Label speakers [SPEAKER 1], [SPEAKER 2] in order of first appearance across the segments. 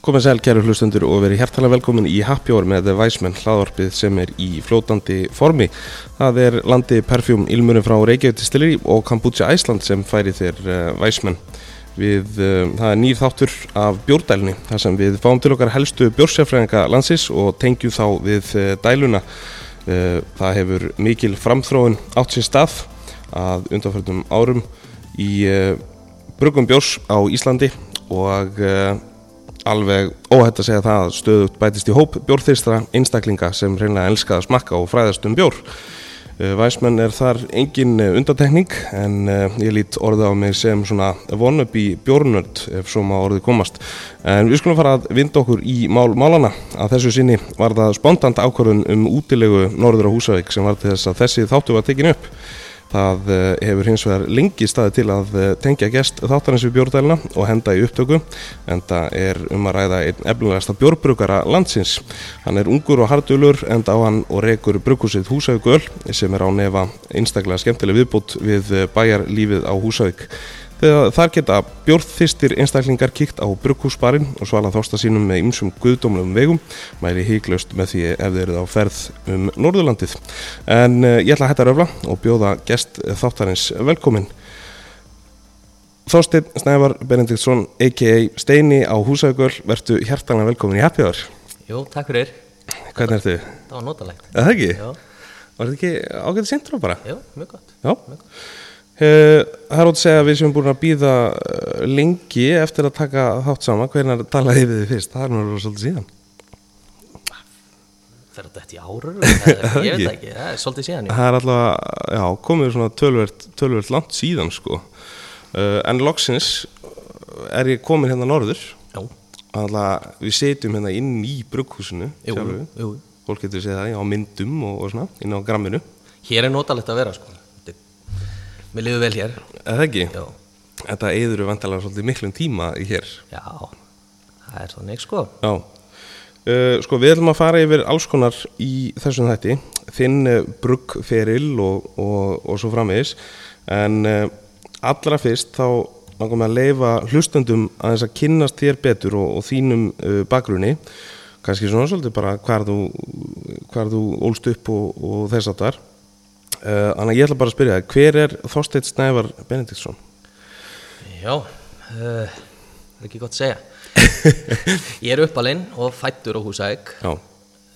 [SPEAKER 1] Komið sæl, kæru hlustendur og verið hjertalega velkomin í Happy Hour með The Weisman hlaðvarpið sem er í fljótandi formi. Það er landi perfjúm ilmunum frá Reykjavík til Stilleri og Kambútsja Æsland sem færi þér uh, Weisman. Við, uh, það er nýr þáttur af bjórdælunni þar sem við fáum til okkar helstu bjórsefræðinga landsins og tengjum þá við uh, dæluna. Uh, það hefur mikil framþróun átt sér stað að undanförnum árum í uh, brugum bjórs á Íslandi og uh, alveg óhætt að segja það að stöðugt bætist í hóp bjórþyrstra einstaklinga sem reynlega elskaða smakka og fræðast um bjór. Eh, Væsmenn er þar engin eh, undantekning en eh, ég lít orðið á mig sem svona vonubi bjórnörd ef svo má orðið komast. En við skulum fara að vinda okkur í mál málana. Að þessu sinni var það spontant ákvörðun um útilegu norður á Húsavík sem var til þess að þessi þáttu var tekin upp. Það eh, hefur hins vegar lengi staði til að eh, tengja gest þáttarins við bjórdæluna og henda í upptöku en það er um að ræða einn efnilegasta bjórbrukara landsins. Hann er ungur og hardulur en á hann og rekur brukusið Húsavíkul sem er á nefa einstaklega skemmtileg viðbútt við eh, bæjarlífið á Húsavík. Þegar þar geta bjórþistir einstaklingar kíkt á brukkúsbarinn og svala þósta sínum með ymsum guðdómlegum vegum, mæli híklaust með því ef þeir eru á ferð um Norðurlandið. En uh, ég ætla að hætta að röfla og bjóða gest eh, þáttarins velkomin. Þorsteinn Snævar Benediktsson, a.k.a. Steini á Húsaugöl, vertu hjertanlega velkomin í Happy Hour.
[SPEAKER 2] Jú, takk fyrir.
[SPEAKER 1] Hvernig ertu? Er
[SPEAKER 2] Það var notalegt.
[SPEAKER 1] það ekki?
[SPEAKER 2] Jú,
[SPEAKER 1] Var þetta ekki ágætið sindra bara?
[SPEAKER 2] jú, mjög gott.
[SPEAKER 1] Já. Eh, Það er ótt að segja að við sem búin að býða lengi eftir að taka þátt sama, hvernig talaði við þið fyrst, það er nú svolítið síðan.
[SPEAKER 2] Fer þetta í árur? Eða- Ég
[SPEAKER 1] Ekki. Ah,
[SPEAKER 2] veit það ekki, það er svolítið síðan.
[SPEAKER 1] Það er alltaf, já, komið svona tölvert, tölvert langt síðan sko. Eh, En loksins er ég komin hérna norður,
[SPEAKER 2] Jú,
[SPEAKER 1] alltaf við setjum hérna inn í brugghúsinu,
[SPEAKER 2] jú, jú,
[SPEAKER 1] sjálfu.
[SPEAKER 2] jú.
[SPEAKER 1] fólk getur séð það á myndum og, og svona, inn á gramminu.
[SPEAKER 2] Hér er notalegt að vera, sko. Þetta er- Mér liður vel hér.
[SPEAKER 1] Eða ekki?
[SPEAKER 2] Jú,
[SPEAKER 1] Þetta eður við vantalega svolítið miklum tíma í hér.
[SPEAKER 2] já, það er þannig, sko.
[SPEAKER 1] Já, uh, sko við ætlum að fara yfir alls konar í þessum þætti, þinn uh, bruggferil og, og, og svo framvegis, en uh, allra fyrst þá langum að leifa hlustendum aðeins að kynnast þér betur og, og þínum uh, bakgrunni, kannski svona svolítið bara hvar þú, hvar þú ólst upp og, og þess að þar. Uh, Þannig að ég ætla bara að spyrja það, hver er Þorsteinn Snævar Benediktsson?
[SPEAKER 2] Já, uh, það er ekki gott að segja. Ég er uppalinn og fættur á Húsæk.
[SPEAKER 1] Já,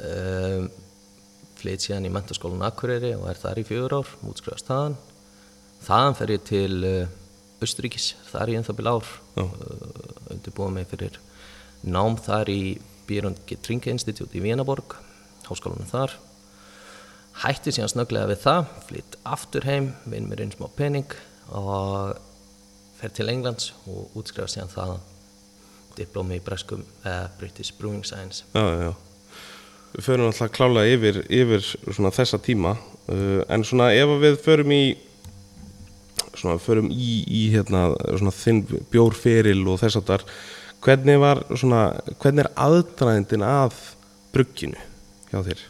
[SPEAKER 2] Um, flytt síðan í mentaskólan Akureyri og er þar í fjögur ár, útskrifast þaðan þaðan fer ég til uh, Östuríkis, þar er ég ennþá bíl ár
[SPEAKER 1] Já.
[SPEAKER 2] uh, undirbúið mig fyrir nám þar í Bírund Getringa Institute í Vénaborg háskólanum þar hætti síðan snögglega við það flytt aftur heim, vinn mér einn smá pening og fer til Englands og útskrifast síðan þaðan diplómi í breskum uh, British Brewing Science
[SPEAKER 1] já, já, já. Við förum alltaf klálega yfir, yfir svona þessa tíma uh, en svona ef að við förum í svona förum í, í hérna svona þinn bjórferil og þess að þar hvernig var svona hvernig er aðdraðindin að brugginu hjá þér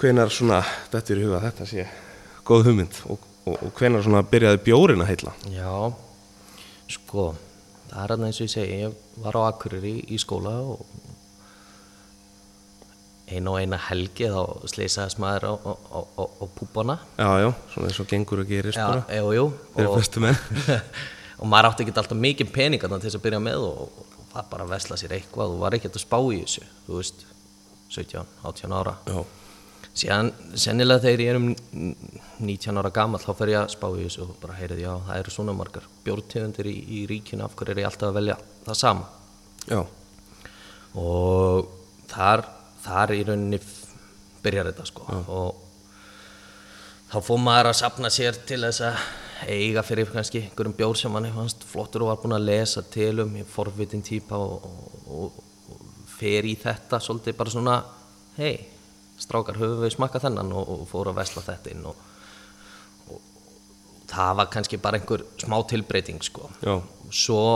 [SPEAKER 1] hvenar svona þetta er í huga þetta sé góð hugmynd og, og, og hvenar svona byrjaði bjórin að heilla
[SPEAKER 2] Já, sko, það er þarna eins og ég segi, ég var á Akureyri í skóla og eina og eina helgi þá sleisaðist maður á, á, á, á, á púbana.
[SPEAKER 1] já já, svona eins og gengur að gerist
[SPEAKER 2] Já,
[SPEAKER 1] bara
[SPEAKER 2] jú, jú.
[SPEAKER 1] fyrir
[SPEAKER 2] Og,
[SPEAKER 1] flestu menn
[SPEAKER 2] og maður átti ekki alltaf mikið pening þarna til þess að byrja með og, og var bara að vesla sér eitthvað og var ekkert að spá í þessu, þú veist, 17, 18 ára.
[SPEAKER 1] já,
[SPEAKER 2] Síðan, sennilega þegar ég er um 19 ára gamall, þá fer ég að spá í þessu og bara heyrið, já, það eru svona margar bjórtegundir í, í ríkinu, af hverju er ég alltaf að velja það sama?
[SPEAKER 1] já,
[SPEAKER 2] Og þar, þar í rauninni f- byrjar þetta, sko. Og þá fór maður að sapna sér til þess að eiga fyrir kannski einhverjum bjór sem manni fannst flottur og var búinn að lesa til um, ég er forvitin típa og, og, og, og fer í þetta svolítið bara svona, hei, strákar, höfum við smakkað þennan og, og fór að vesla þetta inn og, og, og það var kannski bara einhver smá tilbreyting, sko
[SPEAKER 1] já,
[SPEAKER 2] svo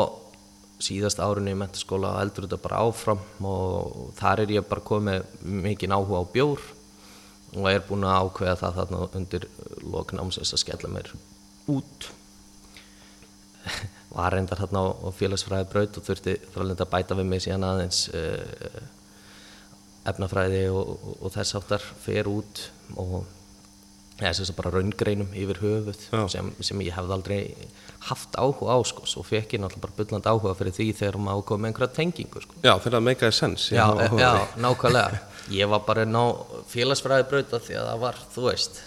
[SPEAKER 2] síðast árinu í mentaskóla eldur þetta bara áfram og þar er ég bara komið mikinn áhuga á bjór og er búinn að ákveða það þarna undir loknámsins að skella mér út var reyndar hérna á, á félagsfræði braut og þurfti frálinda að bæta við mig síðan aðeins uh, efnafræði og, og, og þess áttar fer út og eða þess að bara raungreinum yfir höfuð
[SPEAKER 1] Já.
[SPEAKER 2] sem, sem ég hefði aldrei haft áhuga á sko, svo fekk ég náttúrulega bara bulland áhuga fyrir því þegar maður ákvað með einhverja tengingu sko.
[SPEAKER 1] Já, þegar það meikaði sens ég
[SPEAKER 2] já,
[SPEAKER 1] hafa
[SPEAKER 2] já,
[SPEAKER 1] áhuga á því.
[SPEAKER 2] nákvæmlega ég var bara ná félagsfræði brauta því að það var, þú veist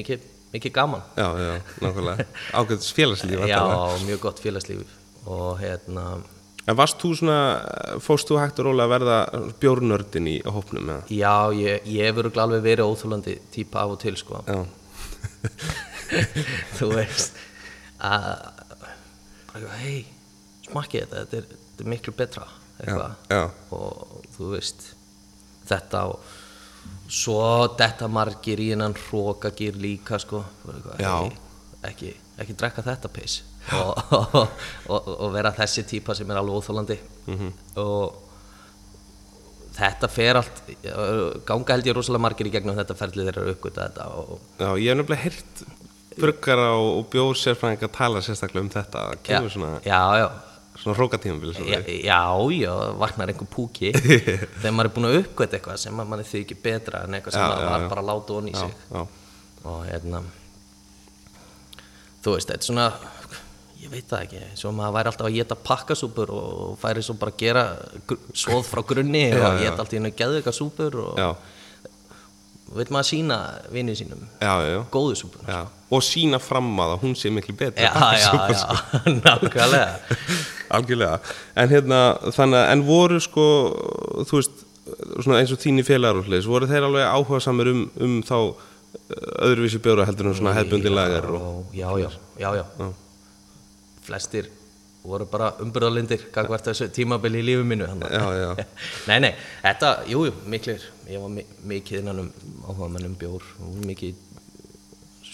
[SPEAKER 2] mikið, mikið gaman
[SPEAKER 1] já, já, nákvæmlega Ágætis félagslíf
[SPEAKER 2] já,
[SPEAKER 1] væntanlega.
[SPEAKER 2] mjög gott félagslíf og hérna
[SPEAKER 1] En varst þú svona, fóst þú hægt og róla að verða bjórnördin í hópnum eða?
[SPEAKER 2] Já, ég, ég hefur örugglega alveg verið óþúlandi típa af og til, sko.
[SPEAKER 1] Já,
[SPEAKER 2] Þú veist, að, bara, hei, smakkið þetta, þetta er, þetta er miklu betra, eitthvað.
[SPEAKER 1] já,
[SPEAKER 2] Og þú veist, þetta og svo detta margir í hennan hrókagýr líka, sko. Bara eitthvað,
[SPEAKER 1] Já.
[SPEAKER 2] "Hey, Ekki, ekki drekka þetta piss og, og, og, og vera þessi típa sem er alveg óþúlandi.
[SPEAKER 1] Mhm.
[SPEAKER 2] -hmm. Og þetta fer allt ganga held ég rosalega margir í gegnum þetta ferlið þeirra að uppgöta þetta og
[SPEAKER 1] já, ég hef nefnilega heyrt bruggara og, og bjórsérfræðinga tala sérstaklega um þetta að kemur svona,
[SPEAKER 2] já, já,
[SPEAKER 1] svona rókatímabil svona.
[SPEAKER 2] já, já, já vaknar einhver púki þegar maður er búinn að uppgöta eitthvað sem að manni þykir betra en eitthvað sem
[SPEAKER 1] Já,
[SPEAKER 2] maður
[SPEAKER 1] já,
[SPEAKER 2] var
[SPEAKER 1] já.
[SPEAKER 2] bara að láta onni í
[SPEAKER 1] já,
[SPEAKER 2] sig
[SPEAKER 1] já,
[SPEAKER 2] og hérna þú veist, þetta er svona ég veit það ekki, svo maður væri alltaf að geta pakkasúpur og færi svo bara að gera gr- svoð frá grunni og
[SPEAKER 1] já.
[SPEAKER 2] geta alltaf inn og geðveika súpur og
[SPEAKER 1] já,
[SPEAKER 2] veit maður að sína vinnu sínum
[SPEAKER 1] já, já,
[SPEAKER 2] góðu súpur
[SPEAKER 1] já. og sína fram að að hún sé miklu betri
[SPEAKER 2] já, já, já, nákvæmlega
[SPEAKER 1] Algjörlega, en hérna þannig að, en voru sko þú veist, svona eins og þínir félagar og hlis, voru þeir alveg áhuga samir um, um þá eh, öðruvísi bjóra heldur en svona hefðbundin lagar og
[SPEAKER 2] já, já, já, já, flestir voru bara umburðalindir gagvart þessu tímabili í lífi mínu þannig.
[SPEAKER 1] Já, já.
[SPEAKER 2] nei, nei, þetta, jú, jú, miklir ég var mi mikið innan um áhuga menn um bjór og mikið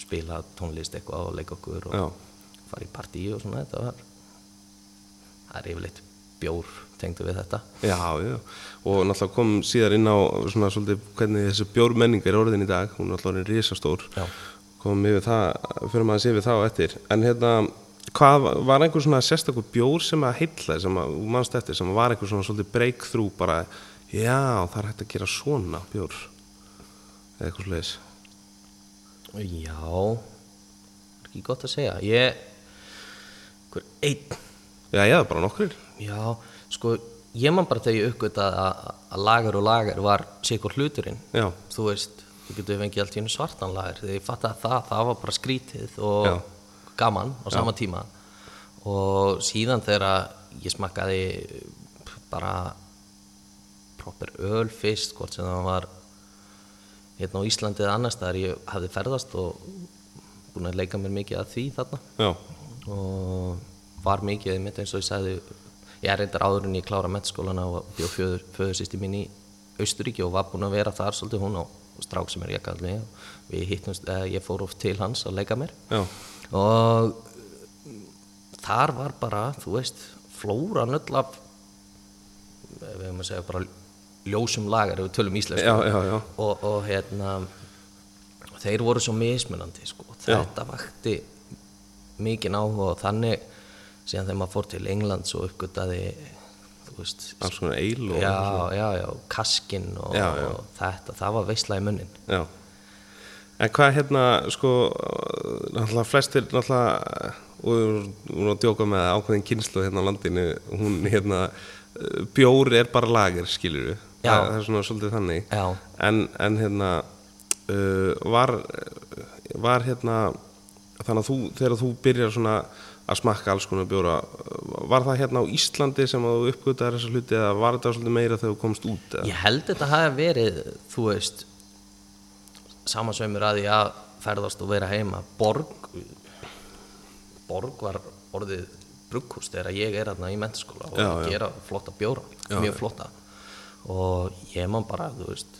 [SPEAKER 2] spila tónlist eitthvað og leika okkur og
[SPEAKER 1] Já.
[SPEAKER 2] fara í partí og svona þetta var það er yfirleitt bjór tengdu við þetta
[SPEAKER 1] Já, já, og náttúrulega kom síðar inn á svona svolítið hvernig þessi bjórmenning er orðin í dag, hún er náttúrulega orðin risastór
[SPEAKER 2] Já.
[SPEAKER 1] komum yfir það, fyrir maður að sé við það á eftir en hérna, hvað var- var einhver svona sérstakur bjór sem að heilla sem að, þú manst eftir, sem var einhver svona svolítið breakthrough bara, já, það er hægt að gera svona bjór eða eitthvað sliðis
[SPEAKER 2] já er ekki gott að segja ég hver einn
[SPEAKER 1] Já, já, bara nokkur
[SPEAKER 2] Já, sko, ég man bara þegar ég uppgötaði að, að lagar og lagar var sikur hluturinn.
[SPEAKER 1] Já,
[SPEAKER 2] Þú veist, þú getur fengið allt í hennu svartan lagar. Þegar ég fattaði það, það var bara skrítið og
[SPEAKER 1] Já.
[SPEAKER 2] gaman á sama tíma. Og síðan þegar að ég smakkaði bara proper öl fyrst, hvort sem það var hérna á Íslandi eða annars þar ég hafði ferðast og búin að leika mér mikið að því þarna
[SPEAKER 1] já,
[SPEAKER 2] og var mikið mitt eins og ég sagði ég er reyndar áður en ég klára mettskólana og bjóð fjöður, fjöðursýsti mín í Austuríki og var búin að vera þar svolítið hún og strák sem er ég kallið mig við hittumst, eða ég fór oft til hans að leika mér
[SPEAKER 1] já,
[SPEAKER 2] og þar var bara, þú veist flóran öll af við hefum að segja bara ljósum lagar ef við tölum íslensku
[SPEAKER 1] já, já, já.
[SPEAKER 2] og, og hérna þeir voru svo mismunandi sko. þetta vakti mikið áhuga og þannig síðan þegar maður fór til England svo uppgötaði þú veist
[SPEAKER 1] alls konar eil og
[SPEAKER 2] já, já, já, kaskinn og,
[SPEAKER 1] Já, já.
[SPEAKER 2] og þetta, það var veisla í munnin
[SPEAKER 1] Já. En hvað hérna, sko, uh, náttúrulega flestir, náttúrulega, uh, og við vorum- við vorum að djóka með það, ákveðin kynslu hérna á landinu, hún hérna, uh, bjór er bara lager, skilur við.
[SPEAKER 2] Já.
[SPEAKER 1] Það, það er svona svolítið þannig.
[SPEAKER 2] Já.
[SPEAKER 1] En, en hérna, uh, var, uh, var hérna, þannig að þú, þegar þú byrjar svona að smakka alls konar bjóra, uh, var það hérna á Íslandi sem að þú uppgötaði þessa hluti eða var þetta svolítið meira þegar þú komst út? eða?
[SPEAKER 2] ég held þetta hafi verið, þú veist samansveimur að ég að ferðast og vera heima Borg Borg var orðið brugghús þegar ég er þarna í mentaskóla og
[SPEAKER 1] Já,
[SPEAKER 2] að
[SPEAKER 1] já.
[SPEAKER 2] gera flotta bjóra mjög flotta og ég man bara, þú veist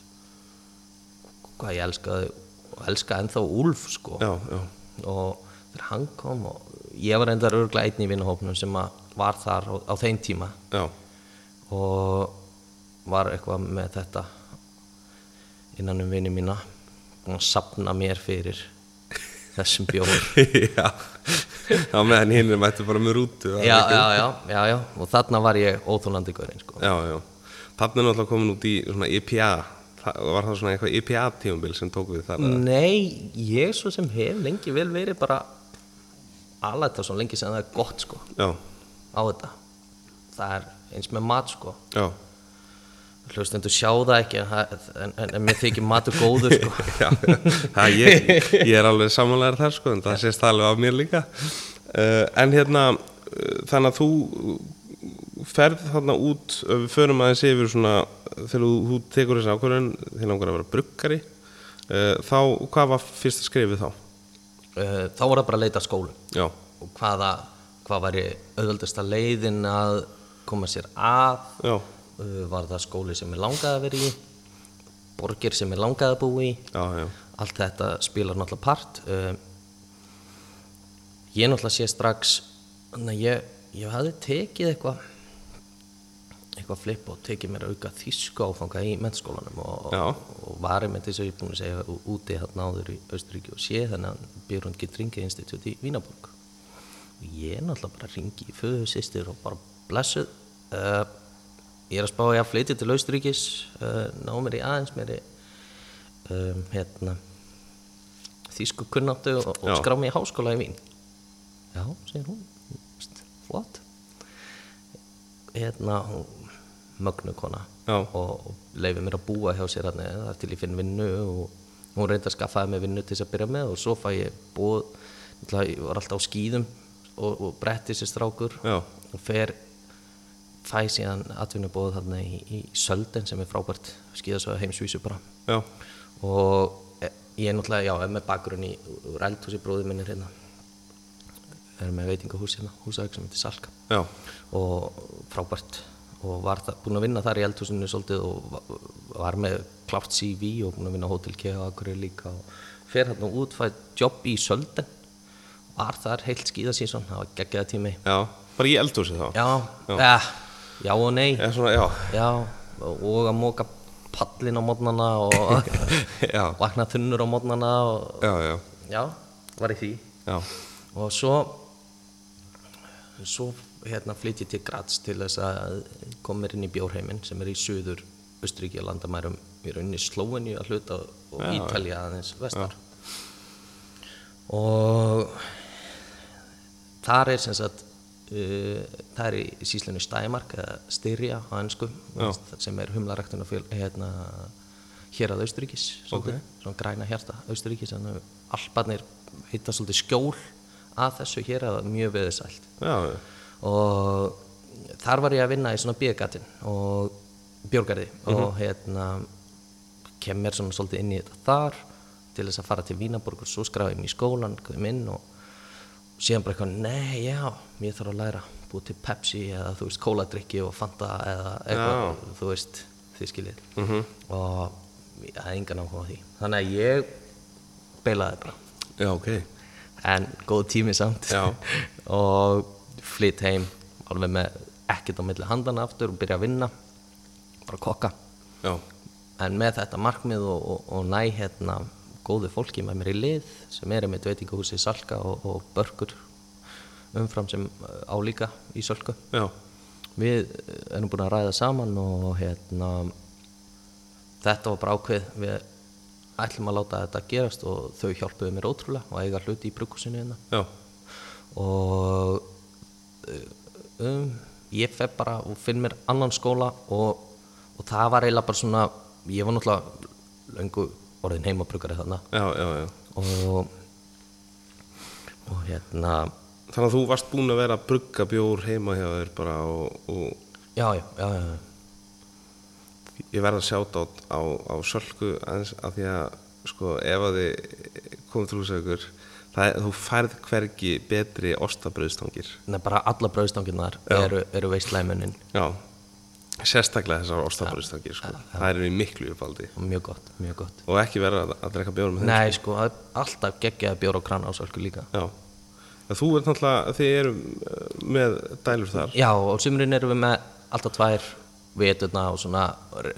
[SPEAKER 2] hvað ég elskaði og elskaði ennþá Úlf sko
[SPEAKER 1] Já, já,
[SPEAKER 2] og þegar hann kom og ég var reyndar örglega einn í vinahópnum sem að var þar á, á þeim tíma
[SPEAKER 1] já,
[SPEAKER 2] og var eitthvað með þetta innan um vinni mína búinn að sapna mér fyrir þessum bjóður
[SPEAKER 1] já, á meðan hinn er mættu bara með rútu það er
[SPEAKER 2] já,
[SPEAKER 1] ekki-
[SPEAKER 2] já, já, já, já, og þarna var ég óþólandi gaurinn sko.
[SPEAKER 1] já, já. Pappin er náttúrulega komin út í svona IPA það var það svona eitthvað E IPA tímumbil sem tók við þar mm.
[SPEAKER 2] Nei, ég svo sem hef lengi vel verið bara alæta svo lengi sem það er gott sko,
[SPEAKER 1] já,
[SPEAKER 2] á þetta það er eins með mat sko
[SPEAKER 1] já,
[SPEAKER 2] hlustendur sjá það ekki en, það- en, en, en mér þykir matur góður sko
[SPEAKER 1] já. Það, ég, ég er alveg samanlegar þar sko en það sést það alveg af mér líka uh, en hérna uh, þannig að þú ferð þarna út ef við förum aðeins yfir svona eh, þegar þú, þú tekur þessi ákvörðun þegar langar að vera bruggari uh, þá, hvað var fyrsta skrifið þá?
[SPEAKER 2] Eh, þá var það bara að leita að skólum
[SPEAKER 1] já,
[SPEAKER 2] og hvaða, hvað væri auðveldasta leiðin að koma sér að
[SPEAKER 1] já,
[SPEAKER 2] Uh, var það skóli sem ég langaði að vera í borgir sem ég langaði að búa í
[SPEAKER 1] já, já.
[SPEAKER 2] allt þetta spilar náttúrulega part uh, ég náttúrulega sé strax þannig að ég, ég hafði tekið eitthvað eitthvað flip og tekið mér auka þýsku áfanga í mennskólanum og,
[SPEAKER 1] Já.
[SPEAKER 2] og varið með þess að ég er búin að segja ú- úti hann áður í Östuríki og sé þannig að Björn Gittringi institut í Vínaborg og ég náttúrulega bara ringi í föðu sýstir og bara blessuð uh, ég er að spá að ég að flytja til Östuríkis uh, ná mér í aðeins mér í um, hérna þýsku kunnáttu og, og
[SPEAKER 1] Já.
[SPEAKER 2] skrá mig í háskóla í Vín já, segir hún "Veist, flott hérna hún mögnu kona
[SPEAKER 1] Já.
[SPEAKER 2] og, og leiði mér að búa hjá sér hann þar til ég finn vinnu og hún reyndi að skaffaði mér vinnu til þess að byrja með og svo fæ ég búið ég var alltaf á skýðum og, og bretti sér strákur
[SPEAKER 1] Já.
[SPEAKER 2] og fer fæ síðan atvinnubóð þarna í, í Sölden sem er frábært skýðasöða heimsvísu bara
[SPEAKER 1] Já,
[SPEAKER 2] og eh, ég er náttúrulega, já, er með bakgrunn í úr eldhúsi bróðið minni hérna er með veitingahús hérna, húsavík sem heitir Salka
[SPEAKER 1] já,
[SPEAKER 2] og frábært og var það, búin að vinna þar í eldhúsinu svolítið og va- var með klárt CV og búin að vinna á Hotel K og Akureyri líka og fer hérna út, fæ jobb í Sölden var þar heilt skíðasíson, það var geggjaða tími
[SPEAKER 1] já, bara í eldhúsi þá
[SPEAKER 2] já,
[SPEAKER 1] Já.
[SPEAKER 2] já, já og nei
[SPEAKER 1] Eða svona, já,
[SPEAKER 2] já, og að móka pallin á mótnana og
[SPEAKER 1] já,
[SPEAKER 2] vakna þunnur á mótnana og
[SPEAKER 1] já, já,
[SPEAKER 2] já, var í því
[SPEAKER 1] já,
[SPEAKER 2] og svo svo hérna flytt ég til Graz til þess að koma mér inn í bjórheimin sem er í suður Östuríki að landamærum í rauninni Slóveni að hluta og
[SPEAKER 1] Já, já.
[SPEAKER 2] Ítalja aðeins vestar og þar er sem sagt uh, það er í síslunni Stæmark eða Styrja á ennsku
[SPEAKER 1] Já.
[SPEAKER 2] sem er humlaræktuna hérna, hér að Austuríkis svolítið, svona græna hjarta Austuríkis þannig að alparnir hitta svolítið skjól að þessu hér að mjög veðisælt
[SPEAKER 1] já,
[SPEAKER 2] og þar var ég að vinna í svona bíðgatin og björgarði og hérna kem mér svona svolítið inn í þetta þar til þess að fara til Vínaborg og svo skrafa ég mig í skólan, kom inn og síðan bara eitthvað, nei, já, ég þarf að læra búið til Pepsi eða þú veist kóladrykki og Fanta eða eitthvað, þú veist, þið skiljið og ég hafði engan áhuga á því þannig að ég beilaði bara
[SPEAKER 1] já, ok,
[SPEAKER 2] en góð tími samt
[SPEAKER 1] Já.
[SPEAKER 2] og flytt heim alveg með ekkert á milli handana aftur og byrja að vinna bara kokka
[SPEAKER 1] já,
[SPEAKER 2] en með þetta markmið og, og, og næ hérna góðu fólki með mér í lið sem er með veitingahúsi Salka og, og Börkur umfram sem uh, á líka í Sölku
[SPEAKER 1] já,
[SPEAKER 2] við uh, erum búin að ræða saman og hérna þetta var bara ákveð við ætlum að láta þetta gerast og þau hjálpuðu mér ótrúlega og eiga hluti í brukusinu hérna
[SPEAKER 1] já,
[SPEAKER 2] og uh, um, ég fer bara og finn mér annan skóla og, og það var eiginlega bara svona ég var náttúrulega löngu orðin heimabrukari þarna
[SPEAKER 1] já, já, já.
[SPEAKER 2] og og hérna
[SPEAKER 1] Þannig að þú varst búin að vera að brugga bjór heima hjá þér bara og, og
[SPEAKER 2] já, já, já, já, já.
[SPEAKER 1] ég verð að sjáta á, á, á sölku aðeins að því að sko ef að þið komið til húsaukur það er, þú færð hvergi betri ostabröðstangir
[SPEAKER 2] Nei, bara alla brauðstanginnar eru, eru veistlæmunin
[SPEAKER 1] Já, sérstaklega þessar ostabröðstangir sko, það eru í miklu uppaldi
[SPEAKER 2] og mjög gott, mjög gott
[SPEAKER 1] og ekki vera að, að drekka bjór með þeim
[SPEAKER 2] Nei, sko, það er alltaf geggjaði bjór og krana á sölku líka
[SPEAKER 1] Já, En þú ert náttúrulega, þið eru eh, með dælur þar
[SPEAKER 2] Já, og sumrin erum við með alltaf tvær veturna og svona re-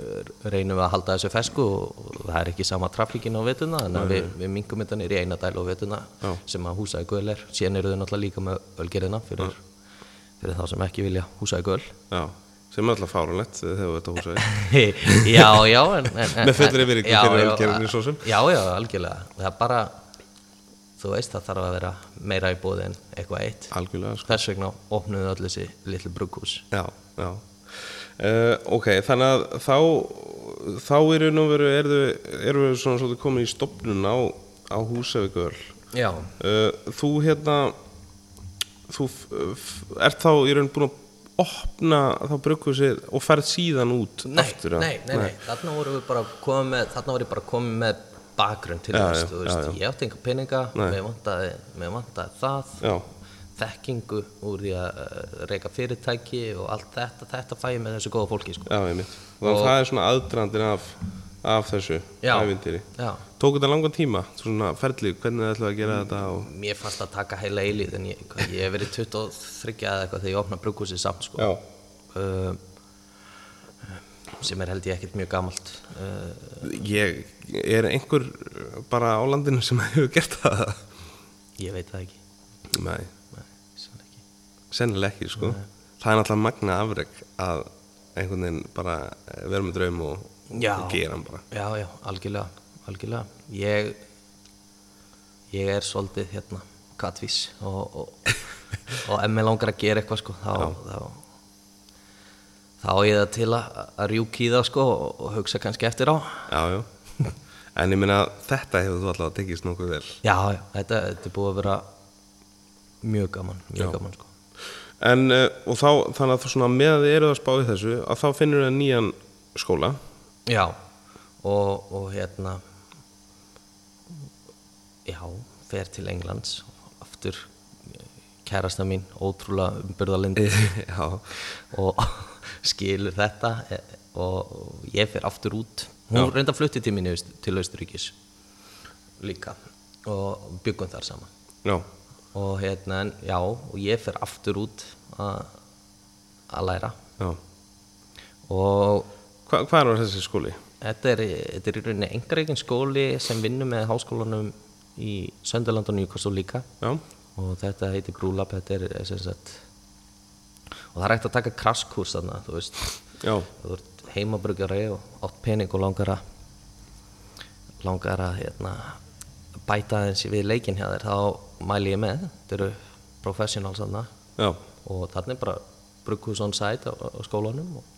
[SPEAKER 2] reynum við að halda þessu fesku og og það er ekki sama trafíkin á veturna þannig að við, við mingum þetta niður í eina dæl á veturna
[SPEAKER 1] Já.
[SPEAKER 2] sem að húsaði göl er síðan eru þau náttúrulega líka með ölgerðina fyrir, fyrir þá sem ekki vilja húsaði göl
[SPEAKER 1] já, sem er alltaf fárunlegt þegar þetta húsaði
[SPEAKER 2] já, já en, en, en,
[SPEAKER 1] Með fullri virðingu
[SPEAKER 2] Já,
[SPEAKER 1] fyrir
[SPEAKER 2] já,
[SPEAKER 1] ölgerðinni svo sem.
[SPEAKER 2] já, já, algjörlega það er bara þú veist það þarf að vera meira í bóði en eitthvað eitt
[SPEAKER 1] algjörlega sko.
[SPEAKER 2] þess vegna opnuðu öll þessi litlu brugghús
[SPEAKER 1] já, já uh, ok, þannig að þá þá eru nú veru eru, eru svona svona komin í stopnun á, á húsavíkvöl
[SPEAKER 2] já,
[SPEAKER 1] uh, þú hérna þú f- f- ert þá í raun búin að opna þá brugghúsið og ferð síðan út
[SPEAKER 2] nei,
[SPEAKER 1] aftur, eða?
[SPEAKER 2] nei, nei, nei. þarna voru við bara komið með þarna voru ég bara komið með bakgrunn til
[SPEAKER 1] Já,
[SPEAKER 2] þess,
[SPEAKER 1] já,
[SPEAKER 2] þú veist,
[SPEAKER 1] já, já.
[SPEAKER 2] ég átti enga peninga
[SPEAKER 1] Nei.
[SPEAKER 2] mér vantaði, mér vantaði það
[SPEAKER 1] Já,
[SPEAKER 2] þekkingu úr því að eh, reka fyrirtæki og allt þetta, þetta fæ ég með þessu góða fólki sko.
[SPEAKER 1] já, einmitt. Þannig að
[SPEAKER 2] Og-
[SPEAKER 1] það er svona aðdrandin af, af þessu
[SPEAKER 2] Já.
[SPEAKER 1] ævindýri.
[SPEAKER 2] já,
[SPEAKER 1] Tók þetta langan tíma, svona ferli, hvernig þið ætlaði að gera þetta og...
[SPEAKER 2] mér fannst að taka heila eilíð en ég, hvað, ég hef verið 23 eða eitthvað þegar ég opna brugghúsið samt sko.
[SPEAKER 1] Já,
[SPEAKER 2] uh, sem er held ég ekkert mjög gamalt uh,
[SPEAKER 1] ég er einhver bara á landinu sem hefur gert það.
[SPEAKER 2] ég veit það ekki
[SPEAKER 1] Nei,
[SPEAKER 2] Nei, sannlega ekki.
[SPEAKER 1] sennilega ekki, sko. Það er náttúrulega magna afreg að einhvern veginn bara eh, vera með draum og,
[SPEAKER 2] Já.
[SPEAKER 1] og gera hann bara.
[SPEAKER 2] Já, já, algjörlega, algjörlega. Ég, ég er svolítið hérna katvís og, og, og ef mér langar að gera eitthvað sko, þá, þá, þá á ég það til að, að rjúk í það sko og, og hugsa kannski eftir á.
[SPEAKER 1] Já, já. En ég meina, þetta hefur þú allavega tekist nokkuð vel.
[SPEAKER 2] Já, já, þetta, þetta er búið að vera mjög gaman, mjög gaman sko.
[SPEAKER 1] En, eh, og þá, þannig að þú svona með að þið eruð að spá í þessu, að þá finnur þið nýjan skóla.
[SPEAKER 2] Já, og, og hérna, já, fer til Englands aftur kærasta mín, ótrúlega umbyrðalind
[SPEAKER 1] já,
[SPEAKER 2] og skilur þetta eh, og ég fer aftur út hún
[SPEAKER 1] Já.
[SPEAKER 2] reynda flutti til minni til Austuríkis líka og byggum þar saman
[SPEAKER 1] já,
[SPEAKER 2] og hérna, en já, og ég fer aftur út a- að læra
[SPEAKER 1] já.
[SPEAKER 2] og
[SPEAKER 1] Hva, hvað var þessi skóli?
[SPEAKER 2] þetta er, þetta er í rauninni engareikinn skóli sem vinnur með háskólanum í Söndaland og Newcastle líka
[SPEAKER 1] Já,
[SPEAKER 2] og þetta heitir Brúlab, þetta er eh, sem sagt og það er hægt að taka kraskurs þarna, þú veist
[SPEAKER 1] já,
[SPEAKER 2] þú ert heimabruggjari og átt pening og langar að langar að hérna, bæta aðeins við leikinn hjá þér þá mæli ég með, þetta eru professionals þarna
[SPEAKER 1] já.
[SPEAKER 2] og þarna er bara brugghús on site á, á skólanum og,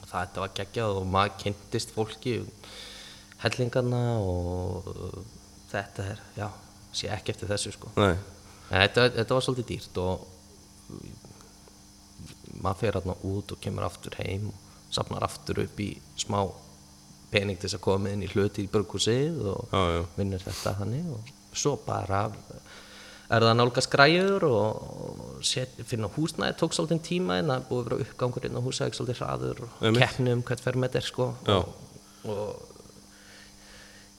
[SPEAKER 2] og það þetta var geggjað og maður kynntist fólki hellingarna og uh, þetta er, já, sé ekki eftir þessu sko
[SPEAKER 1] Nei,
[SPEAKER 2] En þetta, þetta var svolítið dýrt og maður fer hérna út og kemur aftur heim og safnar aftur upp í smá pening til þess að koma inn í hluti í burghúsið og
[SPEAKER 1] já, já.
[SPEAKER 2] vinnur þetta þannig og svo bara er það nálgast græður og set, finna húsnæði tók svolítið tíma en það er búið að vera uppgangur inn á húsæði svolítið hraður og
[SPEAKER 1] Einmitt.
[SPEAKER 2] keppni um hvert fermet er sko
[SPEAKER 1] Já.
[SPEAKER 2] og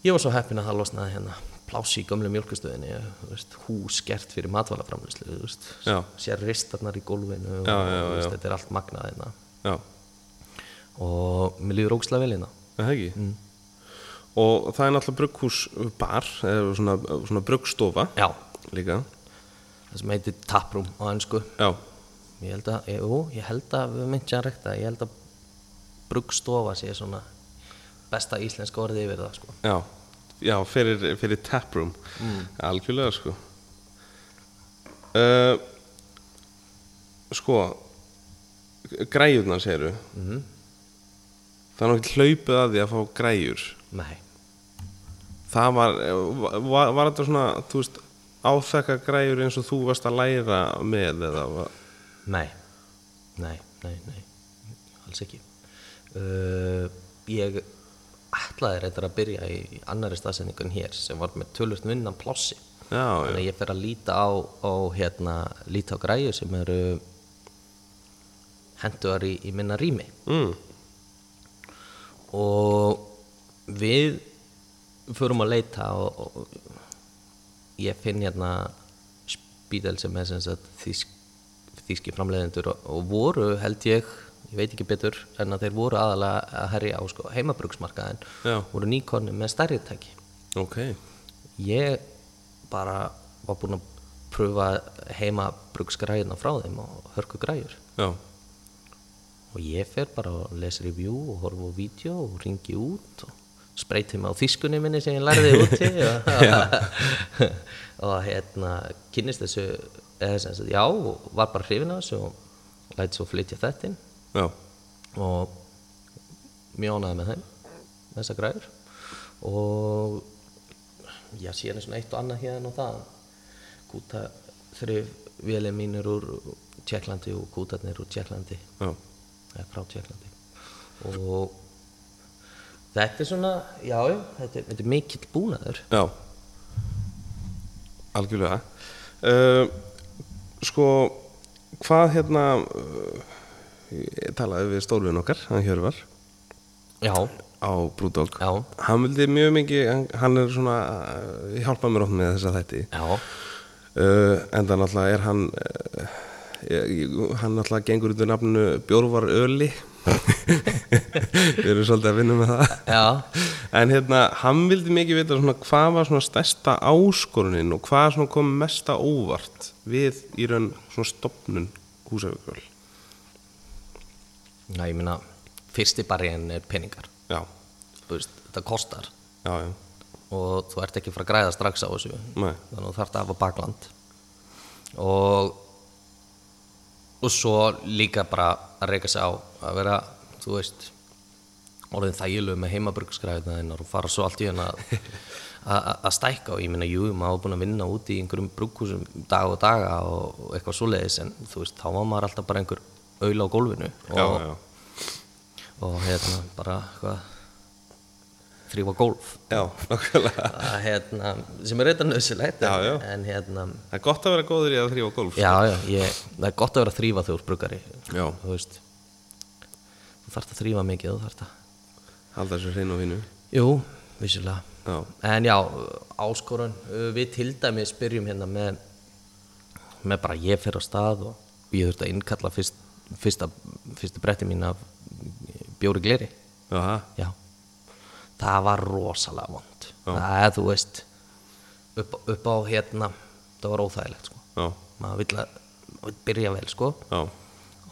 [SPEAKER 2] ég var svo heppin að það losnaði hérna plási í gömlu mjölkustöðinni þú veist, hús gert fyrir matvælaframlislu veist,
[SPEAKER 1] Já.
[SPEAKER 2] sér ristarnar í gólfinu
[SPEAKER 1] Já, já,
[SPEAKER 2] og, þú
[SPEAKER 1] já.
[SPEAKER 2] Veist, þetta er allt magnað hérna
[SPEAKER 1] Já,
[SPEAKER 2] og mér líður ógslag vel hérna
[SPEAKER 1] er það ekki? Og það er náttúrulega brugghúsbar, eða svona, uh, svona bruggstofa
[SPEAKER 2] já,
[SPEAKER 1] líka.
[SPEAKER 2] það sem heitir taproom á ennsku
[SPEAKER 1] Já,
[SPEAKER 2] ég held að, ég, jú, ég held að við myndum að rekta, ég held að bruggstofa sé svona besta íslenska orðið yfir það sko.
[SPEAKER 1] já, já, fyrir, fyrir taproom, algjörlega sko. Uh, sko, græjurnar segirðu,
[SPEAKER 2] Mhm.
[SPEAKER 1] það er náttúrulega hlaupið að því að fá græjur.
[SPEAKER 2] nei,
[SPEAKER 1] það var, eh, var, var þetta svona þú veist, áþekka græjur eins og þú varst að læra með eða var,
[SPEAKER 2] nei nei, nei, nei alls ekki uh, ég ætlaði reyndar að byrja í annari staðsendingun hér sem var með tölvöld vinnan plássi
[SPEAKER 1] já, já,
[SPEAKER 2] þannig að ég fer að líta á, á hérna, líta á græju sem eru henduar í, í minna rými
[SPEAKER 1] mm,
[SPEAKER 2] og við förum að leita og, og ég finn hérna spítal sem er sem sagt þýsk, þýski framleiðendur og, og voru held ég ég veit ekki betur en að þeir voru aðalega að herja á sko, heimabruksmarkaðin
[SPEAKER 1] Já.
[SPEAKER 2] voru nýkonni með stærri tæki
[SPEAKER 1] Ok,
[SPEAKER 2] ég bara var búinn að pröfa heimabruksgræðina frá þeim og hörku græður
[SPEAKER 1] já,
[SPEAKER 2] og ég fer bara og les review og horfa á vídeo og ringi út og spreyti mig á þýskunni minni sem ég lærði úti og, og hérna kynnist þessu eða sem sagt já og var bara hrifin af þessu og læti svo flytja þetta inn
[SPEAKER 1] já,
[SPEAKER 2] og mjög ánæði með þeim þessa græður og já, síðan er svona eitt og annað hérna og það kúta þrjum vélum mínir úr Tjekklandi og kútarnir úr Tjekklandi
[SPEAKER 1] já,
[SPEAKER 2] eða frá Tjekklandi og þetta er svona já, já, þetta, er- þetta er mikill búnaður
[SPEAKER 1] já. Algjörlega. Uh, sko, hvað hérna, uh, ég talaði við stórvin okkar, hann Hjörvar,
[SPEAKER 2] já,
[SPEAKER 1] á Brúdók.
[SPEAKER 2] já,
[SPEAKER 1] Hann vildi mjög mikið, hann, hann er svona, uh, hjálpað mér oft með þessa þætti.
[SPEAKER 2] já
[SPEAKER 1] uh, en það náttúrulega er hann uh, ég- ég- hann náttúrulega gengur undir nafninu Bjórvar Öli við erum svolítið að vinna með það
[SPEAKER 2] já,
[SPEAKER 1] en hérna, hann vildi mikið vita svona, hvað var svona stærsta áskorunin og hvað svona kom mesta óvart við í raun svona stopnun húsavíkvöld
[SPEAKER 2] já, ég meina fyrsti barriðin er peningar
[SPEAKER 1] já,
[SPEAKER 2] þú veist, þetta kostar
[SPEAKER 1] já, já,
[SPEAKER 2] og þú ert ekki að fara að græða strax á þessu
[SPEAKER 1] Nei.
[SPEAKER 2] þannig að þú þarft að hafa bakland og og svo líka bara að reyka sig á að vera, þú veist orðin þægilegu með heimaburgskræðina þinnar og fara svo allt í hérna að- að að stækka og ég minna, jú, maður var búinn að vinna úti í einhverjum brúkhúsum dag og daga og og eitthvað svoleiðis en þú veist, þá var maður alltaf bara einhver auðla á gólfinu
[SPEAKER 1] já,
[SPEAKER 2] og,
[SPEAKER 1] já.
[SPEAKER 2] og hérna bara hvað, þrýfa gólf
[SPEAKER 1] já nokkulega
[SPEAKER 2] að, hérna, sem er eitthvað nöðsilegt
[SPEAKER 1] Já, já.
[SPEAKER 2] en hérna
[SPEAKER 1] það er gott að vera góður í að þrýfa golf
[SPEAKER 2] já, já, ég, það er gott að vera að þrýfa þegar þú ert brugari
[SPEAKER 1] já.
[SPEAKER 2] þú veist þú þarft að þrýfa mikið þú þarft að
[SPEAKER 1] halda þessu hreinu og hínu
[SPEAKER 2] jú, vissulega
[SPEAKER 1] já,
[SPEAKER 2] en já, áskorun uh, við til dæmis byrjum hérna með með bara ég fer á stað og ég þurfti að innkalla fyrst, fyrsta, fyrsta bretti mín af bjóri gleri
[SPEAKER 1] já,
[SPEAKER 2] Já, það var rosalega vond Það er, þú veist upp, upp á hérna það var óþægilegt, sko
[SPEAKER 1] já,
[SPEAKER 2] maður vill að maður vill byrja vel, sko
[SPEAKER 1] já,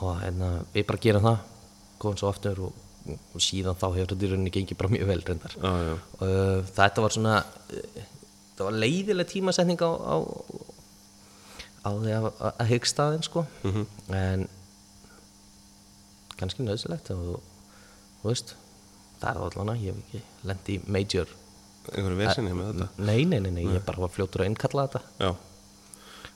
[SPEAKER 2] og hérna, við bara gerum það komum svo aftur og, og síðan þá hefur þetta í rauninni gengið bara mjög vel reyndar
[SPEAKER 1] já, já.
[SPEAKER 2] uh, þetta var svona uh, það var leiðileg tímasetning á, á, á því að, að hyggst aðeins sko en kannski nöðsilegt og þú, þú veist það er það allan að ég hef ekki lendi í major
[SPEAKER 1] einhverju vesinni með þetta
[SPEAKER 2] nei, nei, nei, nei, ég bara var fljótur að innkalla þetta
[SPEAKER 1] Já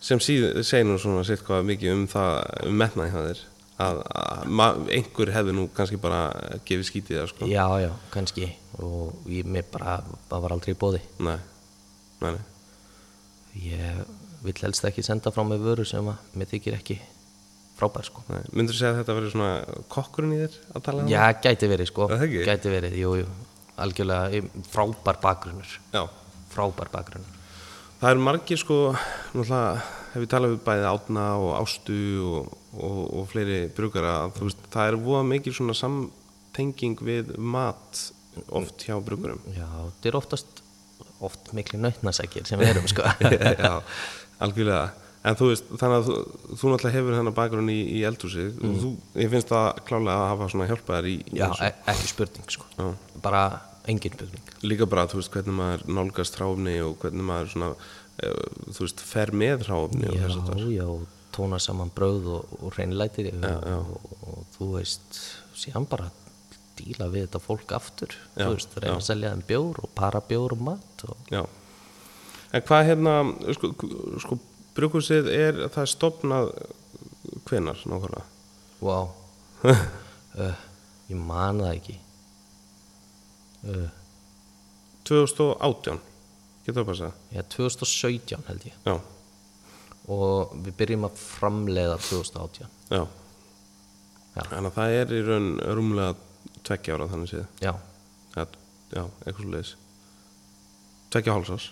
[SPEAKER 1] sem síð, segir nú svona sitt hvað mikið um það um metnaði það er að, að ma, einhver hefði nú kannski bara gefið skítið það sko
[SPEAKER 2] já, já, kannski og ég mér bara, það var aldrei í bóði
[SPEAKER 1] Nei, nei, nei,
[SPEAKER 2] ég vill helst ekki senda frá mig vöru sem að mér þykir ekki frábær sko
[SPEAKER 1] nei. myndur segja að þetta verið svona kokkurinn í þér að tala um
[SPEAKER 2] Já, gæti verið sko,
[SPEAKER 1] Er það ekki?
[SPEAKER 2] gæti verið, jú, jú, algjörlega ég- frábær bakgrunnur,
[SPEAKER 1] Já,
[SPEAKER 2] frábær bakgrunnur.
[SPEAKER 1] það eru margir sko náttúrulega hef ég talað við bæði Átna og Ástu og, og, og fleiri brugara að þú veist, það er voða mikil svona samtenging við mat oft hjá brugurum
[SPEAKER 2] Já, þetta er oftast, oft miklu nautnasækir sem við erum sko.
[SPEAKER 1] já, algjörlega en þú veist, þannig að þú, þú náttúrulega hefur hennar bakgrunn í, í eldhúsi og þú, ég finnst það klálega að hafa svona hjálpaðar í í
[SPEAKER 2] Mm. Já,
[SPEAKER 1] þessu.
[SPEAKER 2] e ekki spurning sko, bara engin spurning.
[SPEAKER 1] líka bara, þú veist, hvernig maður nálgast hráfni og hvernig maður svona eh, þú veist, fer með hráfni og
[SPEAKER 2] Já,
[SPEAKER 1] þess að
[SPEAKER 2] já, og tóna saman bröð og, og reynlætir og, og, og þú veist, síðan bara díla við þetta fólk aftur,
[SPEAKER 1] Já,
[SPEAKER 2] þú veist, reyna að selja þeim bjór og para bjór og mat og
[SPEAKER 1] já, en hvað hérna sko, sko brukusið er það er stopnað hvenar nákvæmlega
[SPEAKER 2] Vá uh, Ég man það ekki uh,
[SPEAKER 1] 2018, getur það bara að segja
[SPEAKER 2] Já, 2017 held ég
[SPEAKER 1] já,
[SPEAKER 2] og við byrjum að framleiða 2018
[SPEAKER 1] já,
[SPEAKER 2] Já.
[SPEAKER 1] þannig að það er í raun rúmlega tveggja ára þannig séð
[SPEAKER 2] Já,
[SPEAKER 1] Já, já eitthvað svo leiðis Tvekja hálsás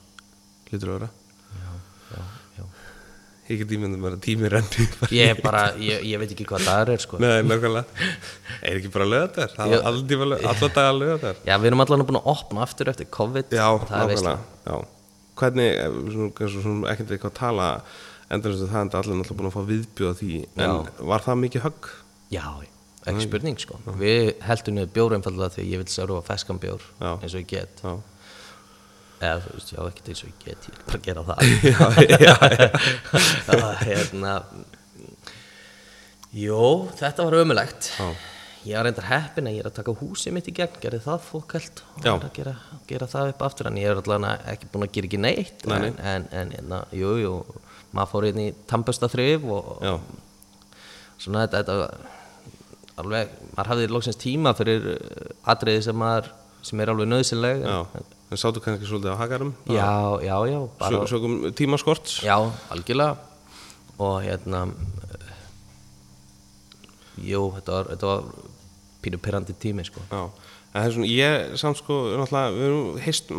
[SPEAKER 1] Lítur að vera
[SPEAKER 2] já, já
[SPEAKER 1] Ég get ímyndum bara tími rendi
[SPEAKER 2] Ég, er bara, ég, ég veit ekki hvað dagur er sko.
[SPEAKER 1] Nei, nákvæmlega Er ekki bara löðar?
[SPEAKER 2] Jú.
[SPEAKER 1] Alla daga löðar
[SPEAKER 2] Já, við erum allan búin að opna aftur eftir COVID
[SPEAKER 1] Já,
[SPEAKER 2] og það er veist
[SPEAKER 1] nákvæmlega Já Hvernig, eh, svona, kannski svona ekkert eitthvað að tala Endur það enda allir náttúrulega búin að fá viðbjóða því En var það mikið högg?
[SPEAKER 2] Já, ekki spurning sko Við heldum niður bjóra einfallega því að ég vil serva feskan bjór
[SPEAKER 1] Já.
[SPEAKER 2] eins og ég get
[SPEAKER 1] Já
[SPEAKER 2] eða þú veist, já, ekkert eins og ég get ég vil bara gera það Það var hérna Jó, þetta var ömulegt
[SPEAKER 1] Já.
[SPEAKER 2] Ég var reyndar heppin að ég er að taka húsið mitt í gegn gerði það fókælt og
[SPEAKER 1] Já.
[SPEAKER 2] er að gera, gera það upp aftur en ég er allavega ekki búin að gera ekki neitt
[SPEAKER 1] Nei, nei.
[SPEAKER 2] en, en, en hérna, jú, jú maður fór hérna í tampösta þrif og
[SPEAKER 1] Já
[SPEAKER 2] svona þetta, þetta var alveg, maður hafði loksins tíma fyrir uh, atriði sem maður sem er alveg nöðsynleg en-
[SPEAKER 1] Já En sáttu kannski svolítið á hakarum?
[SPEAKER 2] já, já, já, bara,
[SPEAKER 1] Sögum tímaskorts?
[SPEAKER 2] já, algjörlega og hérna uh, jú, þetta var, þetta var pínu perandi tími sko
[SPEAKER 1] Já, en það er svona, ég samt sko, er náttúrulega, við erum heist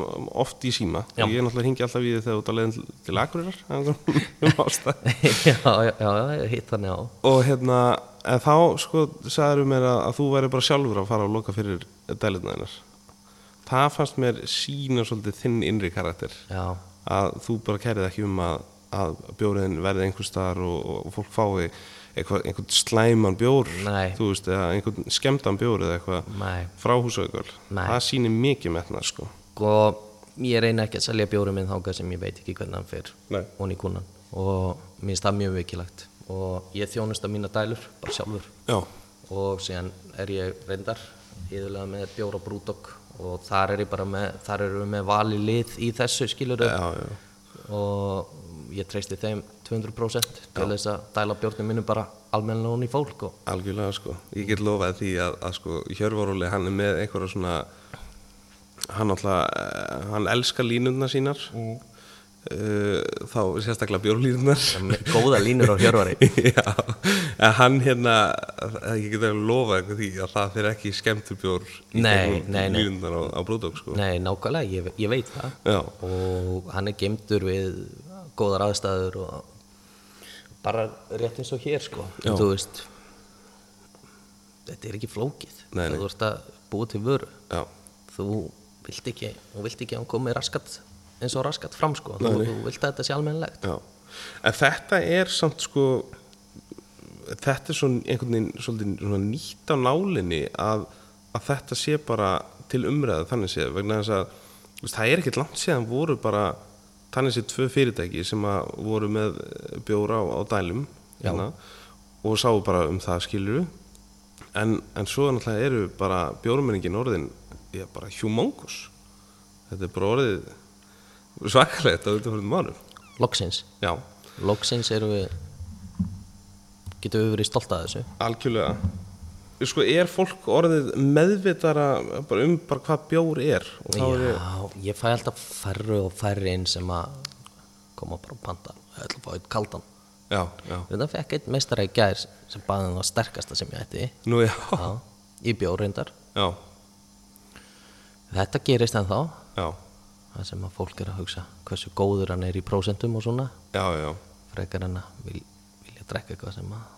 [SPEAKER 1] oft í síma
[SPEAKER 2] Já.
[SPEAKER 1] og ég er náttúrulega hingi alltaf í þig þegar þú ert á leiðin til- til Akureyrar, af einhverjum ástæðum.
[SPEAKER 2] já, já, já, já, hitt þannig á
[SPEAKER 1] og hérna, en þá sko sagður mér að, að þú væri bara sjálfur að fara og loka fyrir dælirna hennar það fannst mér sína svolítið þinn innri karakter
[SPEAKER 2] já,
[SPEAKER 1] að þú bara kærið ekki um að, að bjóriðin verði einhver staðar og, og fólk fái eitthvað, einhvern slæman bjór
[SPEAKER 2] Nei.
[SPEAKER 1] þú veist, eða einhvern skemmtan bjór eða eitthvað
[SPEAKER 2] nei
[SPEAKER 1] frá húsaukul
[SPEAKER 2] Nei.
[SPEAKER 1] það sýnir mikið metna sko
[SPEAKER 2] og ég reyna ekki að selja bjórum minn þáka sem ég veit ekki hvernig hann fer
[SPEAKER 1] Nei.
[SPEAKER 2] og í kúnan og mér finnst það mjög vikilagt og ég þjónust að mína dælur bara sjálfur
[SPEAKER 1] já,
[SPEAKER 2] og síðan er ég reyndar yfirlega með bjóra brúdokk og þar er ég bara með, þar erum við með vali lið í þessu skilur
[SPEAKER 1] já, já,
[SPEAKER 2] og ég treysti þeim 200% til þess að dæla bjórnum minnu bara almennilega hún í fólk og
[SPEAKER 1] algjörlega sko ég get lofað því að, að sko Hjörvaróli hann er með einhverja svona hann alltaf, eh, hann elskar línundna sínar uh, þá sérstaklega bjórlínundnar
[SPEAKER 2] með góða línur á hjörvari
[SPEAKER 1] já, en hann hérna eh, ég get að lofa einhver því að það fyrir ekki skemmtur bjór
[SPEAKER 2] Nei, nei, nei.
[SPEAKER 1] línundnar á, á brúdók sko
[SPEAKER 2] Nei, nákvæmlega, ég, ég veit það
[SPEAKER 1] já,
[SPEAKER 2] og hann er gemdur við góðar aðstæður og bara rétt eins og hér sko
[SPEAKER 1] Já.
[SPEAKER 2] þú veist þetta er ekki flókið
[SPEAKER 1] Nei, nei.
[SPEAKER 2] þegar þú ert að búa til vöru
[SPEAKER 1] já,
[SPEAKER 2] þú vilt ekki þú vilt ekki að hann komi raskat eins og raskat fram sko þú, þú vilt að þetta sé almennilegt
[SPEAKER 1] já en þetta er samt sko þetta er svona einhvern veginn svolítið svona nýtt á nálinni að, að þetta sé bara til umræðu þannig séð vegna þess að þú veist, það er ekkert langt séðan voru bara þannig séð tvö fyrirtæki sem að voru með eh, bjóra á, á dælum hérna
[SPEAKER 2] Já.
[SPEAKER 1] og sáu bara um það skilur en, en svo náttúrulega eru bara bjórumenningin orðin já, bara humongous þetta er bara orðið svakalegt á þetta fyrir mánum
[SPEAKER 2] loksins,
[SPEAKER 1] já,
[SPEAKER 2] loksins erum við getum við verið stolt að þessu
[SPEAKER 1] Algjörlega Sko, er fólk orðið meðvitara bara um bara hvað bjór er og þá er ég,
[SPEAKER 2] Já, ég fæ alltaf færri og færri inn sem að koma bara og panta ég ætla að fá eitt kaldan
[SPEAKER 1] já, já,
[SPEAKER 2] Við það fekk einn meistara í gær sem baði hann það sterkasta sem ég ætti
[SPEAKER 1] nú já
[SPEAKER 2] Já, í bjórindar
[SPEAKER 1] já,
[SPEAKER 2] Þetta gerist en þá
[SPEAKER 1] já,
[SPEAKER 2] það sem að fólk er að hugsa hversu góður hann er í prósentum og svona
[SPEAKER 1] já, já,
[SPEAKER 2] frekar en að vil, vilja drekka eitthvað sem að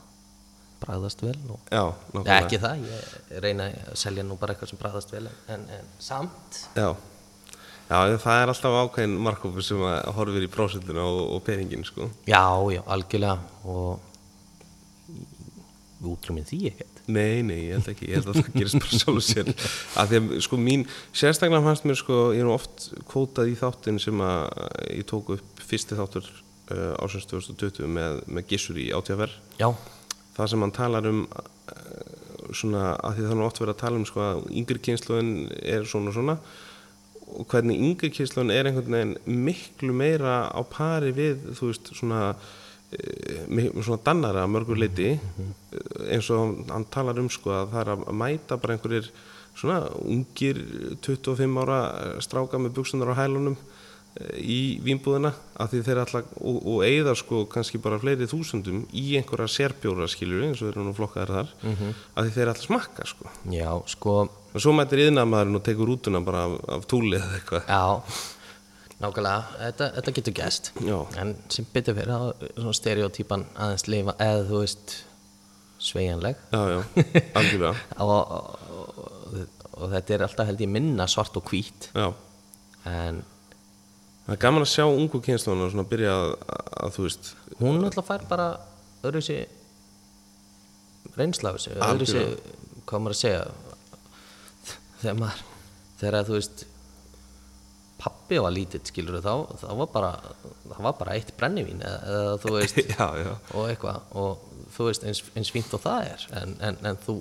[SPEAKER 2] bræðast vel og
[SPEAKER 1] já,
[SPEAKER 2] Já,
[SPEAKER 1] nákvæmlega.
[SPEAKER 2] ekki það, ég reyna að selja nú bara eitthvað sem bræðast vel en, en, en samt
[SPEAKER 1] já, já, það er alltaf ákveðin markofur sem að horfir í prósentuna og, og peningin, sko
[SPEAKER 2] Já, já, algjörlega og við útrúmið því ekkert
[SPEAKER 1] Nei, nei, ég held ekki, ég held að það gerist bara sjálf sér að því að sko mín sérstaklega fannst mér sko, ég er nú oft kvótað í þáttin sem að ég tók upp fyrsti þáttur uh, ásins 2020 með, með Gissur í átjáferð
[SPEAKER 2] Já,
[SPEAKER 1] það sem hann talar um eh, svona, að því þannig oft verið að tala um sko að yngri kynsluðin er svona og svona og hvernig yngri kynsluðin er einhvern veginn miklu meira á pari við þú veist svona eh, mi- svona dannara að mörgur leiti eins og hann- hann talar um sko að það er að mæta bara einhverjir svona ungir 25 ára eh, stráka með buksunar á hælunum eh, í vínbúðina að því þeir alltaf og, og eigða sko kannski bara fleiri þúsundum í einhverja sérbjóra skiljur eins og þeir eru nú flokkaðar þar að því þeir alltaf smakka sko
[SPEAKER 2] já, sko
[SPEAKER 1] og svo mætir yðnamaðurinn og tekur rútuna bara af, af túli eða eitthvað
[SPEAKER 2] Já, Nákvæmlega, þetta, þetta getur gæst
[SPEAKER 1] Já.
[SPEAKER 2] En sem betur fyrir að svona stereotýpan aðeins lifa eða þú veist sveigjanleg
[SPEAKER 1] Já, já, algjörlega
[SPEAKER 2] og, og, og, og þetta er alltaf held ég minna svart og hvít
[SPEAKER 1] Já,
[SPEAKER 2] en
[SPEAKER 1] það er gaman að sjá ungu kynstofuna svona byrja að, að þú veist
[SPEAKER 2] hún náttúrulega fær bara öðru sér reynsla af þessu, öðru sér hvað maður að segja þegar maður, þegar að þú veist pappi var lítill skilur þá, þá var bara það var bara eitt brennivín eða, eða þú veist
[SPEAKER 1] Já, já
[SPEAKER 2] og eitthvað og þú veist eins, eins fínt og það er en, en, en þú,